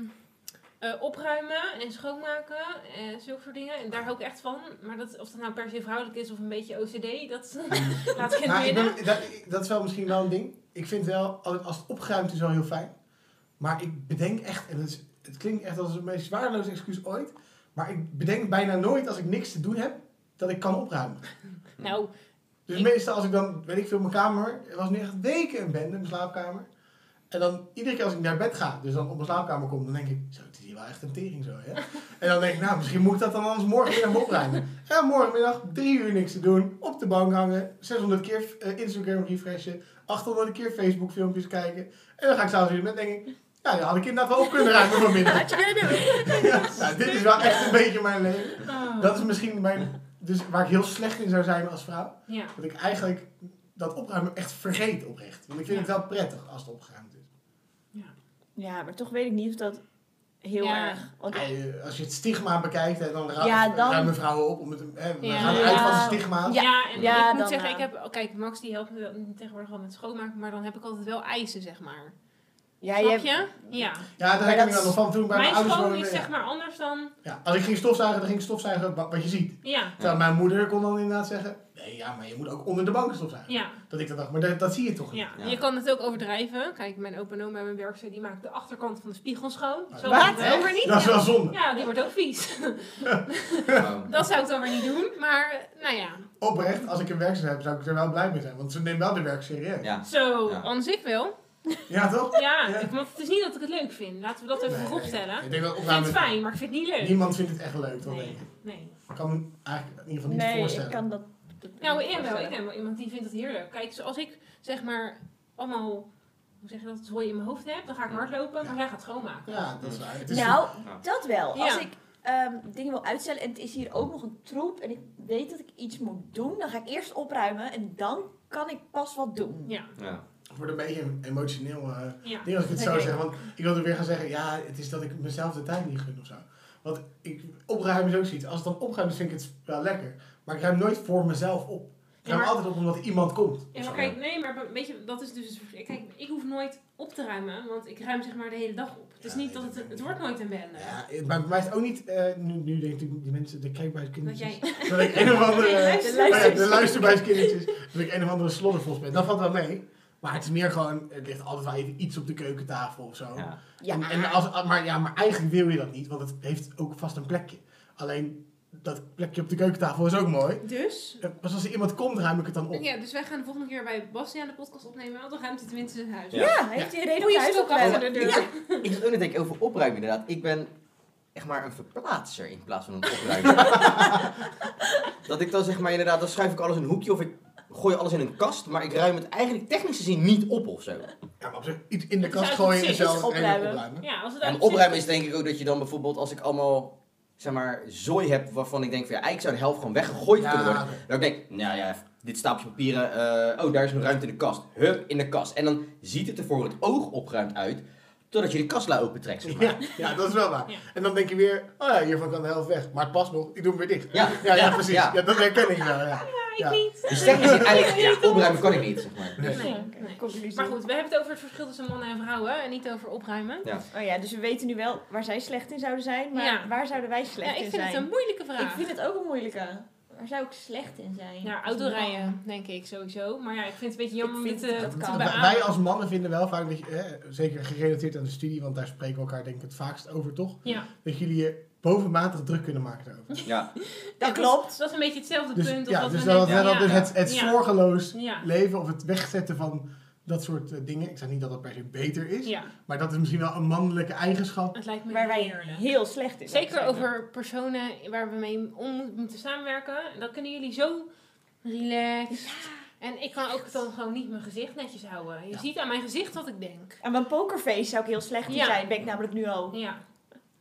Speaker 2: eh, opruimen en schoonmaken en zulke soort dingen. En daar hou ik echt van. Maar dat, of dat nou per se vrouwelijk is of een beetje OCD, dat laat ik in het
Speaker 1: Nou, ik
Speaker 2: midden.
Speaker 1: ben, dat, ik- dat is wel misschien wel een ding. Ik vind wel, als als het opgeruimd is, wel heel fijn. Maar ik bedenk echt, en het, is- het klinkt echt als het meest zwaardeloze excuus ooit. Maar ik bedenk bijna nooit, als ik niks te doen heb, dat ik kan opruimen.
Speaker 2: Nou,
Speaker 1: Dus
Speaker 2: Ik-
Speaker 1: meestal als ik dan, weet ik veel, mijn kamer, er was nu echt weken een bende, mijn slaapkamer. En dan iedere keer als ik naar bed ga, dus dan op mijn slaapkamer kom, dan denk ik, zo, het is hier wel echt een tering zo, hè. en dan denk ik, nou, misschien moet ik dat dan anders morgenmiddag opruimen. Ja, morgenmiddag drie uur niks te doen, op de bank hangen, 600 keer eh, Instagram refreshen, 800 keer Facebook filmpjes kijken. En dan ga ik s'avonds weer naar bed en denk ik, ja, dan had ik inderdaad wel op kunnen ruimen vanmiddag.
Speaker 4: Had je kunnen doen.
Speaker 1: Ja, nou, dit is wel echt een beetje mijn leven.
Speaker 2: oh.
Speaker 1: Dat is misschien mijn, dus waar ik heel slecht in zou zijn als vrouw.
Speaker 2: ja.
Speaker 1: Dat ik eigenlijk dat opruimen echt vergeet oprecht. Want ik vind
Speaker 2: Ja.
Speaker 1: het wel prettig als het opgeruimd is.
Speaker 4: Ja, maar toch weet ik niet of dat heel
Speaker 2: Ja.
Speaker 4: erg. Want
Speaker 1: Ja, je- eh, Als je het stigma bekijkt, hè, dan, ru-
Speaker 4: Ja, dan-
Speaker 1: ruimen vrouwen op. Om het, hè, we
Speaker 2: Ja.
Speaker 1: gaan uit van
Speaker 4: Ja.
Speaker 1: het stigma.
Speaker 2: Ja,
Speaker 4: Ja,
Speaker 2: en
Speaker 4: ja,
Speaker 2: ik moet
Speaker 4: dan,
Speaker 2: zeggen,
Speaker 4: eh.
Speaker 2: ik heb, oh, kijk, Max die helpt me wel- tegenwoordig wel met schoonmaken, maar dan heb ik altijd wel eisen, zeg maar.
Speaker 4: ja,
Speaker 2: Snap
Speaker 4: hebt-
Speaker 2: je? Ja.
Speaker 1: Ja, daar heb
Speaker 4: Maar
Speaker 1: ik
Speaker 4: dat
Speaker 1: me wel
Speaker 4: is-
Speaker 1: nog van toen ik bij mijn,
Speaker 2: Mijn
Speaker 1: ouders
Speaker 2: schoon
Speaker 1: woonde,
Speaker 2: is
Speaker 1: ja.
Speaker 2: zeg maar anders dan,
Speaker 1: Ja, als ik ging stofzuigen, dan ging ik stofzuigen wat, wat je ziet.
Speaker 2: ja,
Speaker 1: Terwijl mijn moeder kon dan inderdaad zeggen, nee, ja, maar je moet ook onder de banken stofzuigen.
Speaker 2: ja.
Speaker 1: Dat ik dat dacht, maar dat, dat zie je toch niet.
Speaker 2: Ja,
Speaker 5: Ja.
Speaker 2: je kan het ook overdrijven. Kijk, mijn opa en oma bij mijn werkster, die maakt de achterkant van de spiegel schoon.
Speaker 1: Maar
Speaker 2: Zo
Speaker 1: dat-
Speaker 2: gaat het ook weer niet.
Speaker 1: Dat is
Speaker 2: Ja.
Speaker 1: wel zonde.
Speaker 2: Ja, die wordt ook vies.
Speaker 5: Ja.
Speaker 2: Dat zou ik dan weer niet doen, maar eh, nou ja.
Speaker 1: Oprecht, als ik een werkster heb, zou ik er wel blij mee zijn. Want ze nemen wel de werk serieus. Ja,
Speaker 5: Ja.
Speaker 2: Zo,
Speaker 5: Ja.
Speaker 2: anders ik wel.
Speaker 1: toch?
Speaker 2: Ja,
Speaker 1: Ja.
Speaker 2: ik- want het is niet dat ik het leuk vind. Laten we dat even
Speaker 1: Nee,
Speaker 2: vooropstellen.
Speaker 1: Ik denk dat
Speaker 2: Ik vind het
Speaker 1: opruimen...
Speaker 2: fijn, maar ik vind het niet leuk.
Speaker 1: Niemand vindt het echt leuk, dat denk
Speaker 2: Nee,
Speaker 1: ik.
Speaker 2: nee.
Speaker 1: Ik kan me eigenlijk in ieder geval niet
Speaker 4: Nee, ik
Speaker 1: voorstellen.
Speaker 4: kan dat. dat
Speaker 2: Nou,
Speaker 4: niet
Speaker 2: ik wel. Ik
Speaker 4: voorstellen.
Speaker 2: ken wel iemand die vindt het heerlijk. Kijk, zoals ik zeg maar allemaal, hoe zeg je dat, zooi in mijn hoofd heb, dan ga ik hardlopen, maar zij gaat schoonmaken.
Speaker 1: Ja, dat is waar. Het is
Speaker 4: nou,
Speaker 5: Ja.
Speaker 4: dat wel.
Speaker 2: Ja.
Speaker 4: Als ik ehm, dingen wil uitstellen en het is hier ook nog een troep en ik weet dat ik iets moet doen, dan ga ik eerst opruimen en dan kan ik pas wat doen.
Speaker 2: Ja,
Speaker 5: Ja.
Speaker 1: het wordt een beetje een emotioneel eh,
Speaker 2: ja.
Speaker 1: ding als ik het zo
Speaker 4: Oké.
Speaker 1: zeg. Want ik wilde weer gaan zeggen, ja, het is dat ik mezelf de tijd niet gun of zo. Want ik, opruimen is ook zoiets. Als het dan opruimt, vind ik het wel lekker. Maar ik ruim nooit voor mezelf op. Ik
Speaker 2: Ja,
Speaker 1: ruim
Speaker 2: maar-
Speaker 1: altijd op omdat iemand komt.
Speaker 2: Ja, maar kijk, nee, maar weet je, dat is dus het verschil. Kijk, ik hoef nooit op te ruimen, want ik ruim zeg maar de hele dag op. Het is
Speaker 1: Ja,
Speaker 2: niet
Speaker 1: nee,
Speaker 2: dat het,
Speaker 1: dat
Speaker 2: het wordt nooit een bende.
Speaker 1: Ja, maar bij mij is het ook niet... eh, nu, nu denk ik die mensen, de kijk bij de
Speaker 2: Dat
Speaker 1: kindertjes.
Speaker 2: jij...
Speaker 1: Dat ik een of andere...
Speaker 2: Nee, luister.
Speaker 1: Oh ja, de luisterbuiskindertjes. Dat ik een of andere sloddervos ben. Dat valt wel mee. Maar het is meer gewoon, het ligt altijd wel even iets op de keukentafel of zo.
Speaker 5: Ja.
Speaker 4: Ja.
Speaker 1: En, en als, ah, maar, ja, maar eigenlijk wil je dat niet, want het heeft ook vast een plekje. Alleen dat plekje op de keukentafel is ook mooi.
Speaker 2: Dus?
Speaker 1: Eh, Pas als er iemand komt, ruim ik het dan op.
Speaker 2: Ja, dus wij gaan de volgende keer bij Bastiaan de podcast opnemen, want dan ruimt hij tenminste zijn huis.
Speaker 5: Ja.
Speaker 4: Ja, heeft hij reden om
Speaker 2: Goeie
Speaker 4: huis op
Speaker 2: stok
Speaker 4: te
Speaker 2: achter
Speaker 4: hebben.
Speaker 2: de deur.
Speaker 3: Ik zat ook net te denken over opruimen inderdaad. Ik ben echt maar een verplaatser in plaats van een opruimer. dat ik dan zeg maar inderdaad, dan schuif ik alles in een hoekje of ik gooi alles in een kast. Maar ik ruim het eigenlijk technisch gezien niet op of zo.
Speaker 1: Ja, maar op zich, iets in de
Speaker 4: Dus
Speaker 1: kast
Speaker 4: uit
Speaker 1: gooien
Speaker 4: het
Speaker 1: en
Speaker 4: zicht
Speaker 1: zelf
Speaker 4: opruimen.
Speaker 1: opruimen. opruimen.
Speaker 2: Ja, als het
Speaker 3: En
Speaker 2: uit
Speaker 3: opruimen is denk ik ook dat je dan bijvoorbeeld als ik allemaal zeg maar zooi heb waarvan ik denk van ja, eigenlijk zou de helft gewoon weggegooid kunnen worden. Dan denk ik, nou ja, dit stapje papieren, eh, oh daar is nog ruimte in de kast. Hup, in de kast. En dan ziet het er voor het oog opruimd uit, totdat je de kastla opentrekt zeg maar.
Speaker 1: Ja, ja, dat is wel waar.
Speaker 2: Ja.
Speaker 1: En dan denk je weer, oh ja, hiervan kan de helft weg. Maar het past nog, ik doe hem weer dicht.
Speaker 3: Ja,
Speaker 1: Ja, ja, precies.
Speaker 3: ja.
Speaker 1: Ja. dat herken ik wel, ja.
Speaker 2: Ik
Speaker 1: Ja.
Speaker 2: niet.
Speaker 3: Dus technisch gezien eigenlijk, ja, opruimen kan ik niet zeg maar.
Speaker 1: Nee.
Speaker 2: Nee,
Speaker 4: Oké,
Speaker 2: nee.
Speaker 4: conclusie.
Speaker 2: Maar goed, we hebben het over het verschil tussen mannen en vrouwen en niet over opruimen.
Speaker 4: Oh ja, dus we weten nu wel waar zij slecht in zouden zijn, maar
Speaker 2: Ja.
Speaker 4: waar zouden wij
Speaker 2: Ja,
Speaker 4: slecht
Speaker 2: ik
Speaker 4: in
Speaker 2: vind
Speaker 4: zijn?
Speaker 2: het een moeilijke vraag.
Speaker 4: Ik vind het ook een moeilijke. Waar zou ik slecht in zijn?
Speaker 2: Ja, autorijden, denk ik sowieso. Maar ja, ik vind het een beetje jammer om
Speaker 4: Ik
Speaker 2: dit
Speaker 4: vind
Speaker 2: eh,
Speaker 4: dat
Speaker 2: te
Speaker 4: kan.
Speaker 1: Wij-
Speaker 2: beamen.
Speaker 1: Wij als mannen vinden wel vaak dat je, eh, zeker gerelateerd aan de studie, want daar spreken we elkaar denk ik het vaakst over toch,
Speaker 2: Ja,
Speaker 1: dat jullie je bovenmatig druk kunnen maken daarover.
Speaker 3: Ja,
Speaker 4: Dat
Speaker 2: Ja,
Speaker 4: klopt.
Speaker 2: Dat is een beetje hetzelfde
Speaker 1: Dus,
Speaker 2: punt. als
Speaker 1: ja,
Speaker 2: wat
Speaker 1: dus,
Speaker 2: we
Speaker 1: dat,
Speaker 2: net-
Speaker 1: dat-
Speaker 2: ja.
Speaker 1: dus het, het
Speaker 2: Ja.
Speaker 1: zorgeloos
Speaker 2: Ja.
Speaker 1: leven of het wegzetten van dat soort eh, dingen. Ik zeg niet dat dat per se beter is,
Speaker 2: Ja,
Speaker 1: maar dat is misschien wel een mannelijke eigenschap.
Speaker 2: het lijkt me
Speaker 4: Waar wij
Speaker 2: heerlijk.
Speaker 4: heel slecht in zijn.
Speaker 2: Zeker over personen waar we mee om moeten samenwerken. Dan kunnen jullie zo relaxed. En ik kan ook dan gewoon niet mijn gezicht netjes houden. Je ziet aan mijn gezicht wat ik denk.
Speaker 4: Aan mijn pokerface zou ik heel slecht in
Speaker 2: Ja.
Speaker 4: zijn, ben ik namelijk nu al.
Speaker 2: Ja.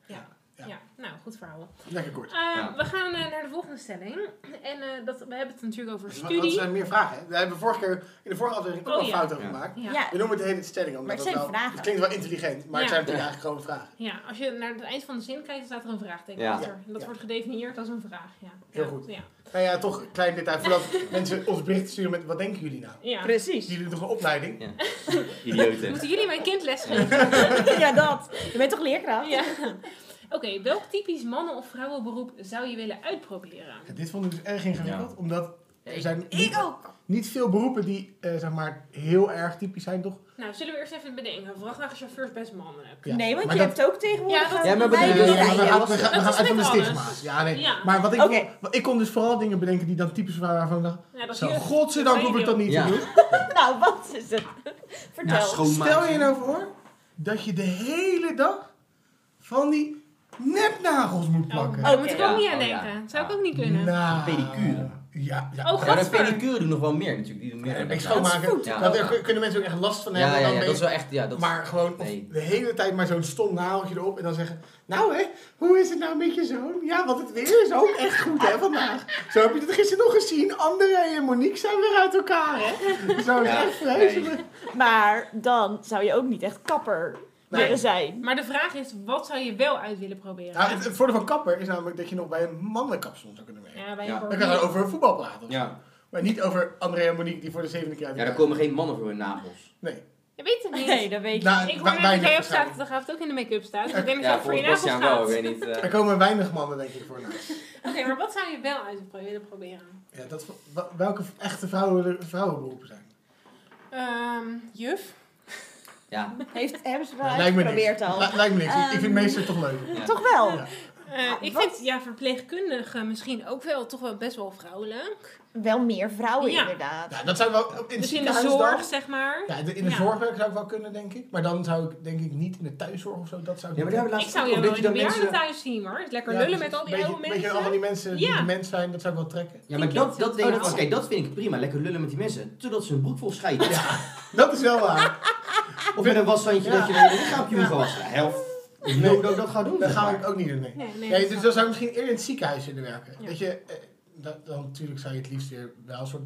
Speaker 2: Ja.
Speaker 1: Oh. Ja.
Speaker 2: Ja, nou goed verhaal.
Speaker 1: Lekker kort.
Speaker 2: Eh, We gaan eh, naar de volgende stelling. En eh, dat, we hebben het natuurlijk over
Speaker 1: Dus wat- Dat
Speaker 2: studie.
Speaker 1: zijn meer vragen. hè? We hebben vorige keer in de vorige aflevering ook
Speaker 2: Oh,
Speaker 1: al
Speaker 2: ja.
Speaker 1: fouten over
Speaker 5: Ja.
Speaker 1: gemaakt.
Speaker 4: Ja.
Speaker 2: ja.
Speaker 1: We noemen het de hele stelling, omdat
Speaker 4: Maar het
Speaker 1: dat
Speaker 4: zijn
Speaker 1: wel-
Speaker 4: vragen.
Speaker 1: het klinkt wel intelligent, maar het
Speaker 2: Ja.
Speaker 1: zijn natuurlijk eigenlijk gewoon vragen.
Speaker 2: Ja, als je naar het eind van de zin kijkt, staat er een vraagteken
Speaker 5: Ja.
Speaker 2: achter. Dat
Speaker 1: Ja.
Speaker 2: wordt gedefinieerd als een vraag. Ja.
Speaker 1: Heel
Speaker 2: Ja,
Speaker 1: goed.
Speaker 2: Ja.
Speaker 1: Nou ja, toch een klein detail voordat mensen ons berichten sturen met wat denken jullie nou?
Speaker 2: Ja.
Speaker 4: Precies.
Speaker 1: Jullie doen toch een opleiding?
Speaker 5: idioten.
Speaker 2: Moeten jullie mijn kind lesgeven?
Speaker 4: ja, dat. Je bent toch leerkracht?
Speaker 2: Ja. Oké, welk typisch mannen- of vrouwenberoep zou je willen uitproberen?
Speaker 1: Ja, dit vond ik dus erg ingewikkeld, omdat er zijn niet,
Speaker 4: Ik ook.
Speaker 1: niet veel beroepen die eh, zeg maar heel erg typisch zijn, toch?
Speaker 2: Nou, zullen we eerst even bedenken. Vrachtwagenchauffeurs best mannelijk.
Speaker 1: Ja.
Speaker 4: Nee, want
Speaker 1: Maar
Speaker 4: je
Speaker 1: dat-
Speaker 4: hebt ook tegenwoordig...
Speaker 2: Ja, dat-
Speaker 4: dat
Speaker 2: Ja, maar
Speaker 4: wij
Speaker 1: Nee,
Speaker 4: doen
Speaker 1: nee, nee,
Speaker 4: rijden.
Speaker 1: we gaan, we gaan- we
Speaker 2: Dat
Speaker 1: gaan
Speaker 2: is
Speaker 1: uit van de
Speaker 2: met
Speaker 1: stigma's.
Speaker 2: alles.
Speaker 1: Ja, nee.
Speaker 2: Ja.
Speaker 1: Maar wat ik, wil-
Speaker 4: Oké.
Speaker 1: wat- ik kon dus vooral dingen bedenken die dan typisch waren waarvan ik dacht,
Speaker 2: Ja, dat is
Speaker 1: zo,
Speaker 2: heel-
Speaker 1: godzijdank hoef ik dat niet
Speaker 3: Ja.
Speaker 1: te doen.
Speaker 4: Nou, wat is het? Vertel.
Speaker 1: Stel je nou voor dat je de hele dag van die nepnagels moet
Speaker 2: Oh,
Speaker 1: plakken.
Speaker 2: oh, moet ik
Speaker 4: Ja,
Speaker 2: ook niet aan
Speaker 5: oh, ja.
Speaker 2: denken. Zou ik ook niet kunnen.
Speaker 1: Nou,
Speaker 3: Pedicure.
Speaker 1: Ja, ja.
Speaker 2: Oh,
Speaker 3: Ja, de
Speaker 2: Gadver.
Speaker 3: pedicure doen nog wel meer natuurlijk. Die doen meer.
Speaker 1: ik
Speaker 3: ja,
Speaker 4: Dat is
Speaker 1: schoonmaken.
Speaker 4: goed.
Speaker 1: Dat, daar kun- kunnen mensen ook echt last van
Speaker 3: ja,
Speaker 1: hebben.
Speaker 3: ja,
Speaker 1: dan ben
Speaker 3: dat is
Speaker 1: je-
Speaker 3: wel echt, ja, dat
Speaker 1: maar gewoon of
Speaker 3: nee.
Speaker 1: de hele tijd maar zo'n stom nageltje erop en dan zeggen... Nou hè, hoe is het nou met je zoon? Ja, want het weer is ook echt goed hè vandaag. Zo heb je het gisteren nog gezien. André en Monique zijn weer uit elkaar hè. Zo is
Speaker 5: Ja,
Speaker 1: echt vreselijk.
Speaker 4: Maar dan zou je ook niet echt kapper
Speaker 1: Nee.
Speaker 4: willen zijn.
Speaker 2: Maar de vraag is, wat zou je wel uit willen proberen?
Speaker 1: Nou, het, het voordeel van kapper is namelijk dat je nog bij een mannelijk kapsalon zou kunnen werken.
Speaker 2: ja, bij
Speaker 5: Ja.
Speaker 2: een
Speaker 1: Dan kan je
Speaker 2: barbier.
Speaker 1: over voetbal praten. of zo.
Speaker 5: Ja.
Speaker 1: Maar niet over André en Monique die voor de zevende keer uit
Speaker 5: ja, daar
Speaker 1: elkaar
Speaker 5: komen geen mannen voor hun nagels.
Speaker 1: Nee.
Speaker 2: Je weet het niet.
Speaker 4: dat weet
Speaker 1: Nou,
Speaker 2: Ik hoor
Speaker 1: wa-
Speaker 2: net dat
Speaker 1: weinig
Speaker 2: jij op
Speaker 1: waarschijnlijk.
Speaker 2: zaterdagavond ook in de make-up staat. Ik denk dat je
Speaker 5: Ja,
Speaker 2: ook voor je
Speaker 5: volgens
Speaker 2: nagels
Speaker 5: Bastiaan wel,
Speaker 2: gaat.
Speaker 5: ik
Speaker 2: Oké,
Speaker 5: weet niet. eh.
Speaker 1: Er komen weinig mannen denk ik voor na.
Speaker 2: maar wat zou je wel uit willen proberen?
Speaker 1: Ja, dat, wa- welke echte vrouwen, vrouwenberoepen zijn?
Speaker 2: Ehm, juf?
Speaker 5: ja,
Speaker 4: Heeft, hebben ze wel
Speaker 1: Ja, lijkt me
Speaker 4: uitgeprobeerd
Speaker 1: niks.
Speaker 4: al.
Speaker 1: Li- lijkt me niks. Ik- ik vind
Speaker 4: Ehm,
Speaker 1: meester toch leuk.
Speaker 5: ja.
Speaker 4: Toch wel?
Speaker 1: Ja.
Speaker 2: Eh,
Speaker 1: Ah,
Speaker 2: ik
Speaker 4: wat?
Speaker 2: vind ja, verpleegkundige misschien ook wel toch wel best wel vrouwelijk.
Speaker 4: Wel meer vrouwen
Speaker 2: Ja.
Speaker 4: inderdaad.
Speaker 1: Ja, dat zou wel in,
Speaker 2: Dus in de
Speaker 1: ziekenhuis
Speaker 2: zorg,
Speaker 1: dan-
Speaker 2: zeg maar.
Speaker 1: Ja, de- in de
Speaker 2: Ja.
Speaker 1: zorg zou ik wel kunnen, denk ik. Maar dan zou ik denk ik niet in de thuiszorg of zo. Dat zou ik
Speaker 3: Ja, maar daar dus hebben we
Speaker 2: Ik
Speaker 3: laatst
Speaker 2: zou
Speaker 3: ook
Speaker 2: je
Speaker 3: omdat
Speaker 2: wel in de
Speaker 3: dan
Speaker 2: bejaarden
Speaker 3: mensen-
Speaker 2: thuis zien hoor. Het lekker
Speaker 1: Ja, dus
Speaker 2: lullen
Speaker 1: precies.
Speaker 2: met al die
Speaker 1: Beetje-
Speaker 2: oude
Speaker 1: Beetje
Speaker 2: mensen.
Speaker 1: allemaal die mensen die
Speaker 2: Ja.
Speaker 1: mens zijn, dat zou ik wel trekken.
Speaker 3: Ja, maar
Speaker 2: Ik vind
Speaker 3: dat,
Speaker 2: het
Speaker 3: dat
Speaker 2: zo-
Speaker 3: denk
Speaker 2: oh, dat
Speaker 3: ik van,
Speaker 2: is-
Speaker 3: kijk, dat vind ik prima. Lekker lullen met die mensen, totdat ze hun broek vol scheiden.
Speaker 1: Ja, dat is wel waar.
Speaker 3: Of met een washandje
Speaker 1: Ja.
Speaker 3: dat je dan je lichaampje moet gaan wassen. Helft. Nee, dat dat gaat doen.
Speaker 1: Dat
Speaker 3: zeg
Speaker 1: ga
Speaker 3: maar.
Speaker 1: ik ook niet doen, nee.
Speaker 2: Nee,
Speaker 1: Nee,
Speaker 2: nee, dat
Speaker 1: dus
Speaker 2: is
Speaker 1: dan zou ik misschien eerder in het ziekenhuis willen werken.
Speaker 2: Ja.
Speaker 1: Dat je, eh, dat, dan natuurlijk zou je het liefst weer wel een soort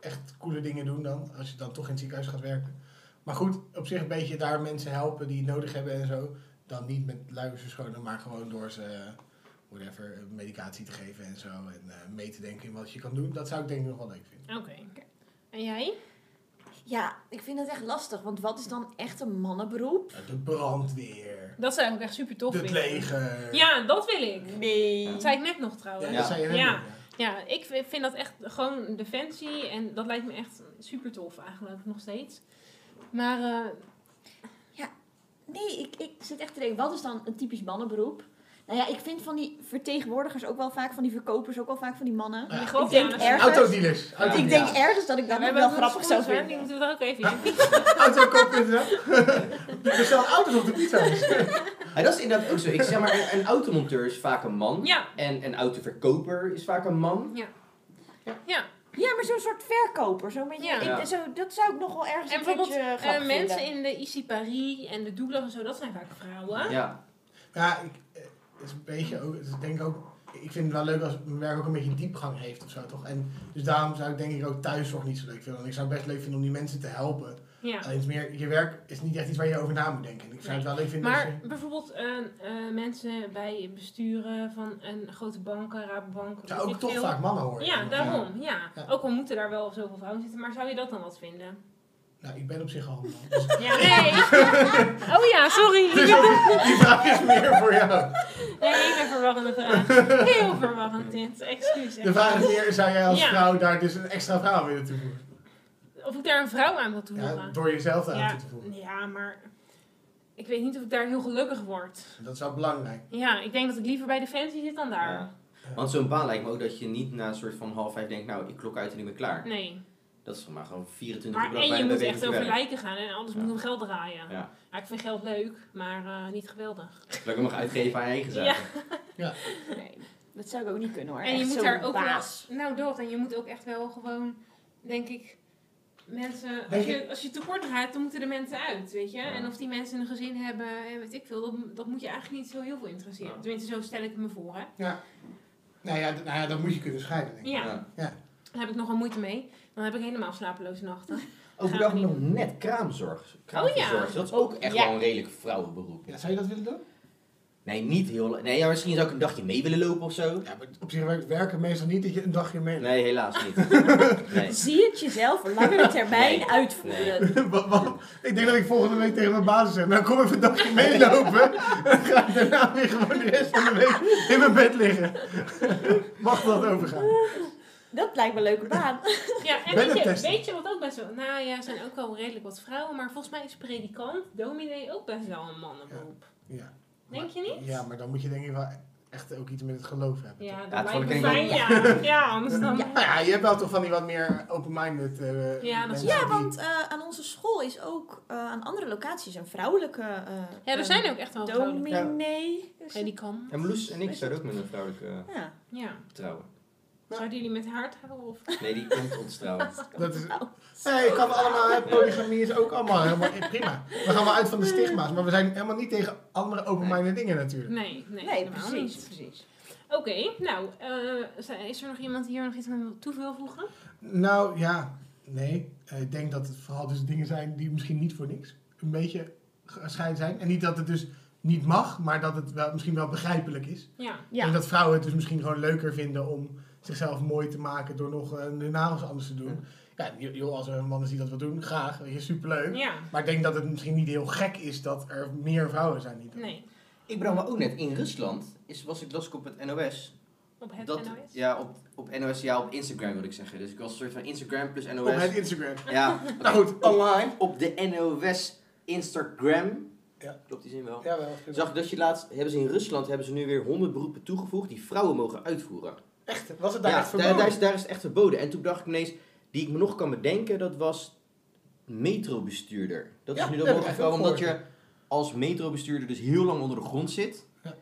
Speaker 1: echt coole dingen doen dan. Als je dan toch in het ziekenhuis gaat werken. Maar goed, op zich een beetje daar mensen helpen die het nodig hebben en zo. Dan niet met luiers verschonen, maar gewoon door ze eh, whatever, eh, medicatie te geven en zo. En eh, mee te denken in wat je kan doen. Dat zou ik denk ik nog wel leuk vinden.
Speaker 2: Oké. En jij?
Speaker 4: Ja, ik vind dat echt lastig. Want wat is dan echt een mannenberoep?
Speaker 1: Ja, De brandweer,
Speaker 2: Dat zou ik ook echt super tof
Speaker 1: de
Speaker 2: vinden.
Speaker 1: leger.
Speaker 2: Ja, dat wil ik.
Speaker 4: Nee.
Speaker 2: Dat zei ik net nog
Speaker 1: Ja,
Speaker 2: trouwens.
Speaker 1: dat
Speaker 2: Ja,
Speaker 1: zei je net
Speaker 2: Ja.
Speaker 1: ook,
Speaker 2: Ja, ik v- vind dat echt gewoon de fancy en dat lijkt me echt super tof eigenlijk nog steeds. Maar eh,
Speaker 4: Nee, ik, ik zit echt te denken, wat is dan een typisch mannenberoep? Nou ja, ik vind van die vertegenwoordigers ook wel vaak, van die verkopers ook wel vaak van die mannen.
Speaker 1: Ja.
Speaker 2: die gewoon
Speaker 4: ik denk erg-
Speaker 1: Oh, Autodealers. Autodealers.
Speaker 4: Ik denk ergens dat ik dat
Speaker 2: we
Speaker 4: nog
Speaker 2: hebben
Speaker 4: wel
Speaker 2: ook een
Speaker 4: grappig zou
Speaker 2: sponsor, Die
Speaker 4: vinden.
Speaker 2: moeten we er ook even in.
Speaker 1: Autokoop.nl. Bestel auto's op de pizza's.
Speaker 3: Ja, dat is inderdaad ook zo. Ik zeg maar, een, een automonteur is vaak een man.
Speaker 2: Ja,
Speaker 3: En een autoverkoper is vaak een man.
Speaker 4: Ja, maar zo'n soort verkoper, zo'n beetje.
Speaker 2: Ja.
Speaker 4: ik- zo, dat zou ik nog wel ergens
Speaker 2: en
Speaker 4: een
Speaker 2: bijvoorbeeld
Speaker 4: beetje
Speaker 2: eh,
Speaker 4: grappig
Speaker 2: mensen
Speaker 4: vinden.
Speaker 2: in de IC Paris en de Douglas en zo, dat zijn vaak vrouwen.
Speaker 3: Ja.
Speaker 1: Ja, ik, eh, het is een beetje ook, het is denk ik ook, ik vind het wel leuk als mijn werk ook een beetje diepgang heeft of zo, toch? En dus daarom zou ik denk ik ook thuiszorg niet zo leuk vinden. Want ik zou het best leuk vinden om die mensen te helpen.
Speaker 2: Ja.
Speaker 1: Alleen is meer, je werk is niet echt iets waar je over na moet denken. Ik zou het wel leuk vinden als
Speaker 2: Maar
Speaker 1: je...
Speaker 2: bijvoorbeeld eh, eh, mensen bij besturen van een grote banken, Rabobank.
Speaker 1: Ik zou
Speaker 2: weet
Speaker 1: ook
Speaker 2: ik
Speaker 1: toch
Speaker 2: veel.
Speaker 1: vaak mannen horen.
Speaker 2: Ja, daarom. Ja.
Speaker 1: Ja.
Speaker 2: Ook al moeten daar wel zoveel vrouwen zitten, maar zou je dat dan wat vinden?
Speaker 1: Nou, ik ben op zich al een man. Dus
Speaker 2: Ja, nee. oh ja, sorry.
Speaker 1: die vraag is meer voor jou.
Speaker 2: Nee, hele verwarrende vraag. Heel verwarrend dit. Excuus.
Speaker 1: De vraag is meer, zou jij als
Speaker 2: Ja.
Speaker 1: vrouw daar dus een extra vrouw aan willen toevoegen?
Speaker 2: Of ik daar een vrouw aan wil
Speaker 1: Ja,
Speaker 2: toevoegen.
Speaker 1: door jezelf aan
Speaker 2: Ja,
Speaker 1: toe te voegen.
Speaker 2: ja, maar ik weet niet of ik daar heel gelukkig word.
Speaker 1: Dat is wel belangrijk.
Speaker 2: Ja, ik denk dat ik liever bij Defensie zit dan daar.
Speaker 3: Ja. Want zo'n baan lijkt me ook dat je niet na een soort van half vijf denkt, nou, ik klok uit en ik ben klaar.
Speaker 2: Nee.
Speaker 3: Dat is gewoon maar gewoon 24 uur
Speaker 2: Maar
Speaker 3: lang
Speaker 2: en je
Speaker 3: bijna
Speaker 2: moet
Speaker 3: bij
Speaker 2: echt
Speaker 3: wezen
Speaker 2: over
Speaker 3: werken.
Speaker 2: lijken gaan en anders
Speaker 3: Ja.
Speaker 2: moet om geld draaien.
Speaker 3: Ja.
Speaker 2: Ja, ik vind geld leuk, maar eh, niet geweldig.
Speaker 3: Dat ik hem mag uitgeven aan je eigen zaak.
Speaker 2: Ja.
Speaker 4: Nee, dat zou ik ook niet kunnen hoor.
Speaker 2: En je
Speaker 4: Echt
Speaker 2: moet
Speaker 4: zo'n
Speaker 2: daar ook
Speaker 4: baas.
Speaker 2: wel... Nou, dat. En je moet ook echt wel gewoon, denk ik... Mensen, als
Speaker 1: Denk
Speaker 2: je, als je tekort draait, dan moeten de mensen uit, weet je. En of die mensen een gezin hebben, en weet ik veel, dat, dat moet je eigenlijk niet zo heel veel interesseren.
Speaker 3: Ja.
Speaker 2: Tenminste, zo stel ik het me voor, hè.
Speaker 1: Nou ja, d- nou ja, dat moet je kunnen scheiden, denk ik.
Speaker 2: Ja,
Speaker 3: Ja.
Speaker 2: daar heb ik nogal moeite mee. Dan heb ik helemaal slapeloze nachten.
Speaker 3: Overdag
Speaker 2: Gaan we
Speaker 3: nog
Speaker 2: niet Oh
Speaker 3: net kraamzorg. kraamverzorgers. Dat is ook echt
Speaker 4: Ja.
Speaker 3: wel een redelijk vrouwenberoep.
Speaker 1: Ja, zou je dat willen doen?
Speaker 3: Nee, niet heel... Nee, ja, misschien zou ik een dagje mee willen lopen of zo.
Speaker 1: Ja, maar op zich werkt werken meestal niet dat je een dagje mee.
Speaker 3: Nee, helaas niet. Nee.
Speaker 4: Zie het jezelf voor langere termijn
Speaker 3: Nee.
Speaker 4: uitvoeren.
Speaker 1: Wa- wa- ik denk dat ik volgende week tegen mijn baas zeg, nou kom even een dagje meelopen. Dan ga ik daarna weer gewoon de rest van de week in mijn bed liggen. Mag dat overgaan?
Speaker 4: Dat lijkt me een leuke baan.
Speaker 2: Ja,
Speaker 1: Ben
Speaker 2: en weet
Speaker 1: het
Speaker 2: je,
Speaker 1: testen.
Speaker 2: weet je wat ook best wel... Nou ja, er zijn ook wel redelijk wat vrouwen, maar volgens mij is predikant, dominee ook best wel een mannenberoep.
Speaker 1: Ja.
Speaker 2: Denk je niet?
Speaker 1: Ja, maar dan moet je denk ik wel echt ook iets met het geloof hebben. toch?
Speaker 2: Ja,
Speaker 3: Ja,
Speaker 2: dat
Speaker 3: het
Speaker 2: lijkt me
Speaker 3: vond ik
Speaker 2: fijn, ja.
Speaker 3: denk
Speaker 2: Ja, anders dan... Ja,
Speaker 1: Nou ja, je hebt wel toch van die wat meer open-minded eh
Speaker 2: Ja, dat is-
Speaker 1: mensen
Speaker 4: Ja,
Speaker 1: die-
Speaker 4: want eh, aan onze school is ook eh, aan andere locaties een vrouwelijke. eh,
Speaker 2: er
Speaker 4: een
Speaker 2: zijn ook echt wel vrouwelijke
Speaker 4: Dominee.
Speaker 2: predikant.
Speaker 3: En Loes en ik zouden ook met een vrouwelijke eh,
Speaker 4: Ja.
Speaker 2: Ja.
Speaker 3: trouwen.
Speaker 2: Zouden jullie met haar trouwen? Of?
Speaker 3: Nee, die komt ons trouwen.
Speaker 1: Dat is...
Speaker 2: Oh.
Speaker 4: Nou,
Speaker 1: Nee, kan allemaal, hè, polygamie is ook allemaal helemaal eh, prima. We gaan wel uit van de stigma's, maar we zijn helemaal niet tegen andere open-minded dingen natuurlijk.
Speaker 2: Nee, nee,
Speaker 4: Nee,
Speaker 2: helemaal
Speaker 4: precies.
Speaker 2: niet.
Speaker 4: precies.
Speaker 2: Oké, nou, eh, zijn- is er nog iemand hier nog iets aan wil toe wil voegen?
Speaker 1: Nou ja, nee. Eh, Ik denk dat het vooral dus dingen zijn die misschien niet voor niks een beetje gescheiden zijn. En niet dat het dus niet mag, maar dat het wel, misschien wel begrijpelijk is.
Speaker 2: Ja.
Speaker 1: En
Speaker 4: Ja.
Speaker 1: dat vrouwen het dus misschien gewoon leuker vinden om zichzelf mooi te maken door nog eh, hun nagels anders te doen. Ja, en joh, als er een man is die dat wil doen, graag. Weet je, superleuk.
Speaker 2: Ja,
Speaker 1: Maar ik denk dat het misschien niet heel gek is dat er meer vrouwen zijn die dat
Speaker 2: nee.
Speaker 3: Ik bedoel, maar ook net in Rusland is, was ik, las ik op het NOS
Speaker 2: Op het
Speaker 3: dat,
Speaker 2: NOS?
Speaker 3: Ja, op, op NOS, ja, op Instagram wil ik zeggen. Dus ik was een soort van Instagram plus NOS.
Speaker 1: doen. Op het Instagram.
Speaker 3: Ja,
Speaker 1: Nou goed, online.
Speaker 3: op de NOS Instagram.
Speaker 1: Ja.
Speaker 3: Klopt die zin wel?
Speaker 1: Ja, wel.
Speaker 3: Zag ik dat je laatst, hebben ze in Rusland hebben ze nu weer 100 beroepen toegevoegd die vrouwen mogen uitvoeren.
Speaker 1: Echt? Was het daar
Speaker 3: ja,
Speaker 1: echt
Speaker 3: daar,
Speaker 1: verboden?
Speaker 3: daar is, daar is het echt verboden. En toen dacht ik ineens, die ik me nog kan bedenken, dat was metrobestuurder. Dat
Speaker 1: Ja,
Speaker 3: is nu
Speaker 1: dat
Speaker 3: dat
Speaker 1: heb ik
Speaker 3: mogelijk
Speaker 1: echt
Speaker 3: wel,
Speaker 1: ook
Speaker 3: omdat
Speaker 1: gehoord,
Speaker 3: je als metrobestuurder dus heel lang onder de grond zit.
Speaker 1: Ja.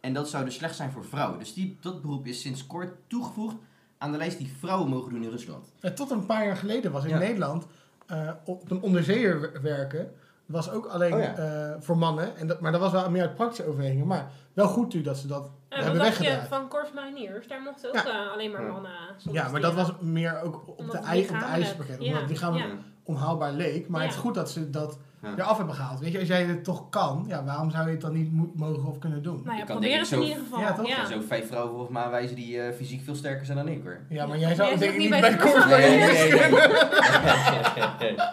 Speaker 3: En dat zou dus slecht zijn voor vrouwen. Dus die, dat beroep is sinds kort toegevoegd aan de lijst die vrouwen mogen doen in Rusland.
Speaker 1: Ja, Eh, tot een paar jaar geleden was in
Speaker 3: Ja.
Speaker 1: Nederland eh, op een onderzeeër wer- werken was ook alleen
Speaker 3: Oh ja.
Speaker 1: eh, voor mannen. En dat, maar dat was wel meer uit praktische overwegingen. Maar wel goed natuurlijk dat ze dat
Speaker 2: Eh, wat
Speaker 1: hebben
Speaker 2: dacht je
Speaker 1: weggedaan.
Speaker 2: van Korfmaniers? Daar mochten ook
Speaker 1: Ja.
Speaker 2: eh, alleen maar
Speaker 3: Ja.
Speaker 2: mannen.
Speaker 1: Ja, maar dat was meer ook op
Speaker 2: Omdat
Speaker 1: de,
Speaker 2: het
Speaker 1: ei, op de
Speaker 2: lichamelijk-
Speaker 1: ijspakket. Omdat het lichaam
Speaker 2: Ja.
Speaker 1: onhaalbaar leek. Maar het is
Speaker 2: Ja.
Speaker 1: goed dat ze dat
Speaker 3: Ja.
Speaker 1: eraf hebben gehaald. Weet je, als jij het toch kan, ja, waarom zou je het dan niet mo- mogen of kunnen doen?
Speaker 2: Nou ja,
Speaker 3: Je kan
Speaker 2: probeer
Speaker 3: denk
Speaker 2: het
Speaker 3: ik zo-
Speaker 2: in ieder geval.
Speaker 1: Ja, toch?
Speaker 3: Er zijn zo vijf vrouwen volgens mij aanwijzen die eh, fysiek veel sterker zijn dan ik hoor.
Speaker 1: Ja, maar jij zou
Speaker 2: Jij
Speaker 1: het
Speaker 2: zit
Speaker 1: denk ik niet
Speaker 2: niet bij
Speaker 1: bij
Speaker 2: de
Speaker 1: Cor van
Speaker 3: nee,
Speaker 1: Leeuwen
Speaker 3: nee, nee, nee.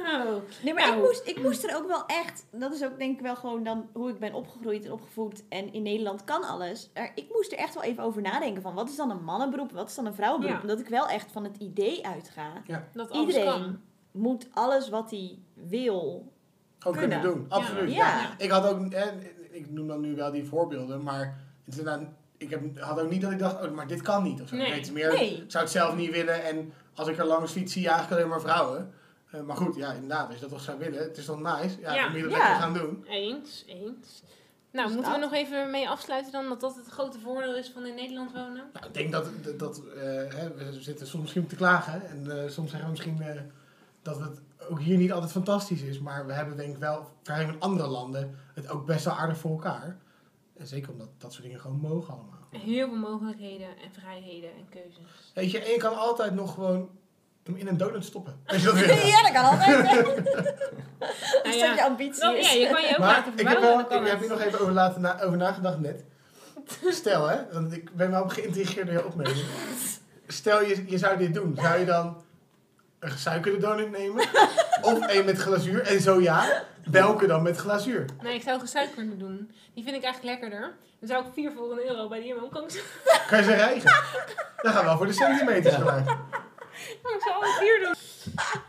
Speaker 2: Oh.
Speaker 4: Nee, maar
Speaker 2: Ja,
Speaker 4: ik,
Speaker 2: Wauw.
Speaker 4: moest, ik moest er ook wel echt, dat is ook denk ik wel gewoon dan hoe ik ben opgegroeid en opgevoed. En in Nederland kan alles. Er, ik moest er echt wel even over nadenken van wat is dan een mannenberoep, wat is dan een vrouwenberoep.
Speaker 2: Ja.
Speaker 4: Omdat ik wel echt van het idee uitga.
Speaker 2: Dat alles
Speaker 4: Iedereen.
Speaker 2: kan.
Speaker 4: Moet alles wat hij wil.
Speaker 1: Gewoon kunnen
Speaker 4: Kunnen.
Speaker 1: doen, absoluut.
Speaker 4: Ja.
Speaker 1: Ja. Ik had ook, eh, ik noem dan nu wel die voorbeelden, maar het is inderdaad- ik heb, had ook niet dat ik dacht, oh, maar dit kan niet of zo.
Speaker 2: Nee.
Speaker 1: Nee. meer,
Speaker 4: Nee.
Speaker 1: ik zou het zelf niet willen en als ik er langs fiets zie, eigenlijk alleen maar vrouwen. Eh, maar goed, ja, inderdaad, als je dat toch zou willen, het is toch nice, ja,
Speaker 2: Ja.
Speaker 1: dan moet je dat
Speaker 4: Ja.
Speaker 1: lekker gaan doen.
Speaker 2: Eens, eens. Nou,
Speaker 4: Dus
Speaker 2: moeten we
Speaker 4: dat.
Speaker 2: nog even mee afsluiten dan dat dat het grote voordeel is van in Nederland wonen?
Speaker 1: Nou, ik denk dat, dat, dat, eh, hè, we zitten soms misschien te klagen en eh, soms zeggen we misschien eh, dat het ook hier niet altijd fantastisch is. Maar we hebben denk ik wel, vergeleken met andere landen, het ook best wel aardig voor elkaar. En zeker omdat dat soort dingen gewoon mogen allemaal.
Speaker 2: Heel veel mogelijkheden en vrijheden en keuzes.
Speaker 1: Weet je, en je kan altijd nog gewoon hem in een donut stoppen. Als je dat wil.
Speaker 4: Ja, dat kan altijd. hè.
Speaker 2: Nou
Speaker 4: Als
Speaker 2: ja,
Speaker 4: dat je ambitie
Speaker 2: dan- Oh, ja,
Speaker 4: is.
Speaker 2: je kan je ook
Speaker 1: Maar
Speaker 2: laten
Speaker 1: ik heb,
Speaker 2: verbouwen.
Speaker 1: wel,
Speaker 2: en dan
Speaker 1: ik heb
Speaker 2: kan
Speaker 1: hier
Speaker 2: het.
Speaker 1: nog even over, laten na, over nagedacht net. Stel hè, want ik ben wel geïntrigeerd door je opmerking. Stel je, je zou dit doen, zou je dan een gesuikerde donut nemen? Of een met glazuur? En zo ja, welke dan met glazuur?
Speaker 2: Nee, ik zou gesuikerde doen. Die vind ik eigenlijk lekkerder. Dan zou ik vier voor een euro bij de IMO kan ik
Speaker 1: Kan je ze rijgen? Dan gaan we wel voor de centimeters gelijk.
Speaker 2: zou ik zou alle vier doen.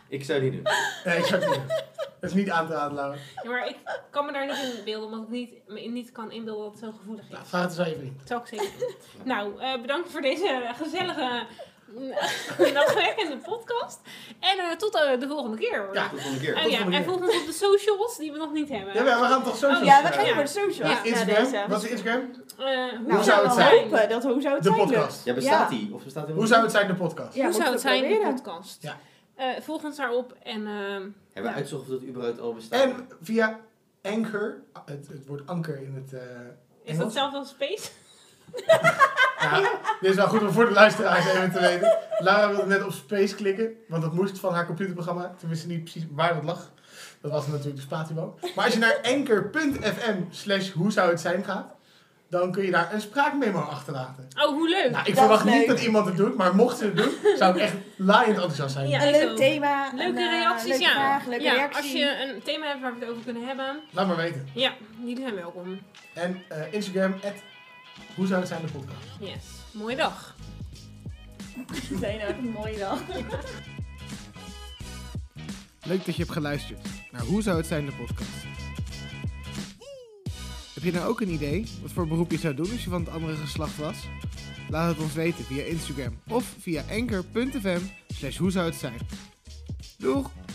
Speaker 5: Ik zou die doen.
Speaker 1: Nee, ik zou het niet doen. Dat is niet aan te raden, Laura.
Speaker 2: Ja, maar ik kan me daar niet in beelden, omdat ik niet, me niet kan inbeelden dat het zo gevoelig is.
Speaker 1: Nou, vraag het eens aan je vriend.
Speaker 2: Dat zou ik zeker doen. Nou, eh, bedankt voor deze gezellige, mm, nachtwerkende podcast. En eh, tot eh, de volgende keer. hoor.
Speaker 1: Ja,
Speaker 5: Tot de volgende keer.
Speaker 2: Oh
Speaker 1: Tot de
Speaker 2: ja,
Speaker 1: volgende
Speaker 2: en
Speaker 1: keer.
Speaker 2: volg ons op de socials die we nog niet hebben.
Speaker 1: Ja, we gaan toch zo.
Speaker 2: Oh,
Speaker 4: Ja, we gaan
Speaker 2: Ja.
Speaker 4: voor de socials.
Speaker 2: Ja.
Speaker 4: na
Speaker 1: Instagram?
Speaker 4: deze.
Speaker 1: Wat is Instagram?
Speaker 2: Eh, hoe
Speaker 4: Nou,
Speaker 1: zou het
Speaker 4: we
Speaker 1: zijn?
Speaker 4: hopen dat hoe zou het
Speaker 1: De
Speaker 4: zijn?
Speaker 2: dus?
Speaker 1: podcast.
Speaker 5: Ja, bestaat die? Of bestaat die
Speaker 1: Hoe zou het zijn, de podcast?
Speaker 2: hoe zou het zijn, de
Speaker 4: proberen.
Speaker 2: podcast?
Speaker 1: Ja.
Speaker 2: Eh, volg ons daarop en ehm,
Speaker 5: Hebben we uitgezocht of dat überhaupt al bestaat?
Speaker 1: En via Anchor, ah, het, het woord anker in het. eh,
Speaker 2: is dat
Speaker 1: Engels?
Speaker 2: zelf als space?
Speaker 1: ja, dit is wel goed om voor de luisteraars even te weten. Lara wilde net op space klikken, want dat moest van haar computerprogramma. Tenminste, niet precies waar dat lag. Dat was natuurlijk de spatiebalk. Maar als je naar anchor.fm slash hoe zou het zijn gaat, dan kun je daar een spraakmemo achterlaten.
Speaker 2: Oh, hoe leuk!
Speaker 1: Nou, ik
Speaker 4: is
Speaker 1: verwacht niet
Speaker 4: leuk.
Speaker 1: dat iemand het doet, maar mocht ze het doen, zou ik echt laaiend enthousiast zijn.
Speaker 2: Ja.
Speaker 4: Een
Speaker 2: Zo.
Speaker 4: leuk thema.
Speaker 2: Leuke
Speaker 4: een, eh,
Speaker 2: reacties,
Speaker 4: leuke
Speaker 2: ja.
Speaker 4: vraag, leuke
Speaker 2: ja,
Speaker 4: reactie.
Speaker 2: Als je een thema hebt waar we het over kunnen hebben,
Speaker 1: Laat maar weten.
Speaker 2: ja, die zijn welkom.
Speaker 1: En eh, Instagram, hoe zou het zijn de podcast.
Speaker 2: Yes, mooie dag.
Speaker 4: Nee, nou, een mooie dag.
Speaker 6: Leuk dat je hebt geluisterd naar Hoe zou het zijn de podcast. Heb je nou ook een idee wat voor beroep je zou doen als je van het andere geslacht was? Laat het ons weten via Instagram of via anchor.fm slash hoe zou het zijn. Doeg!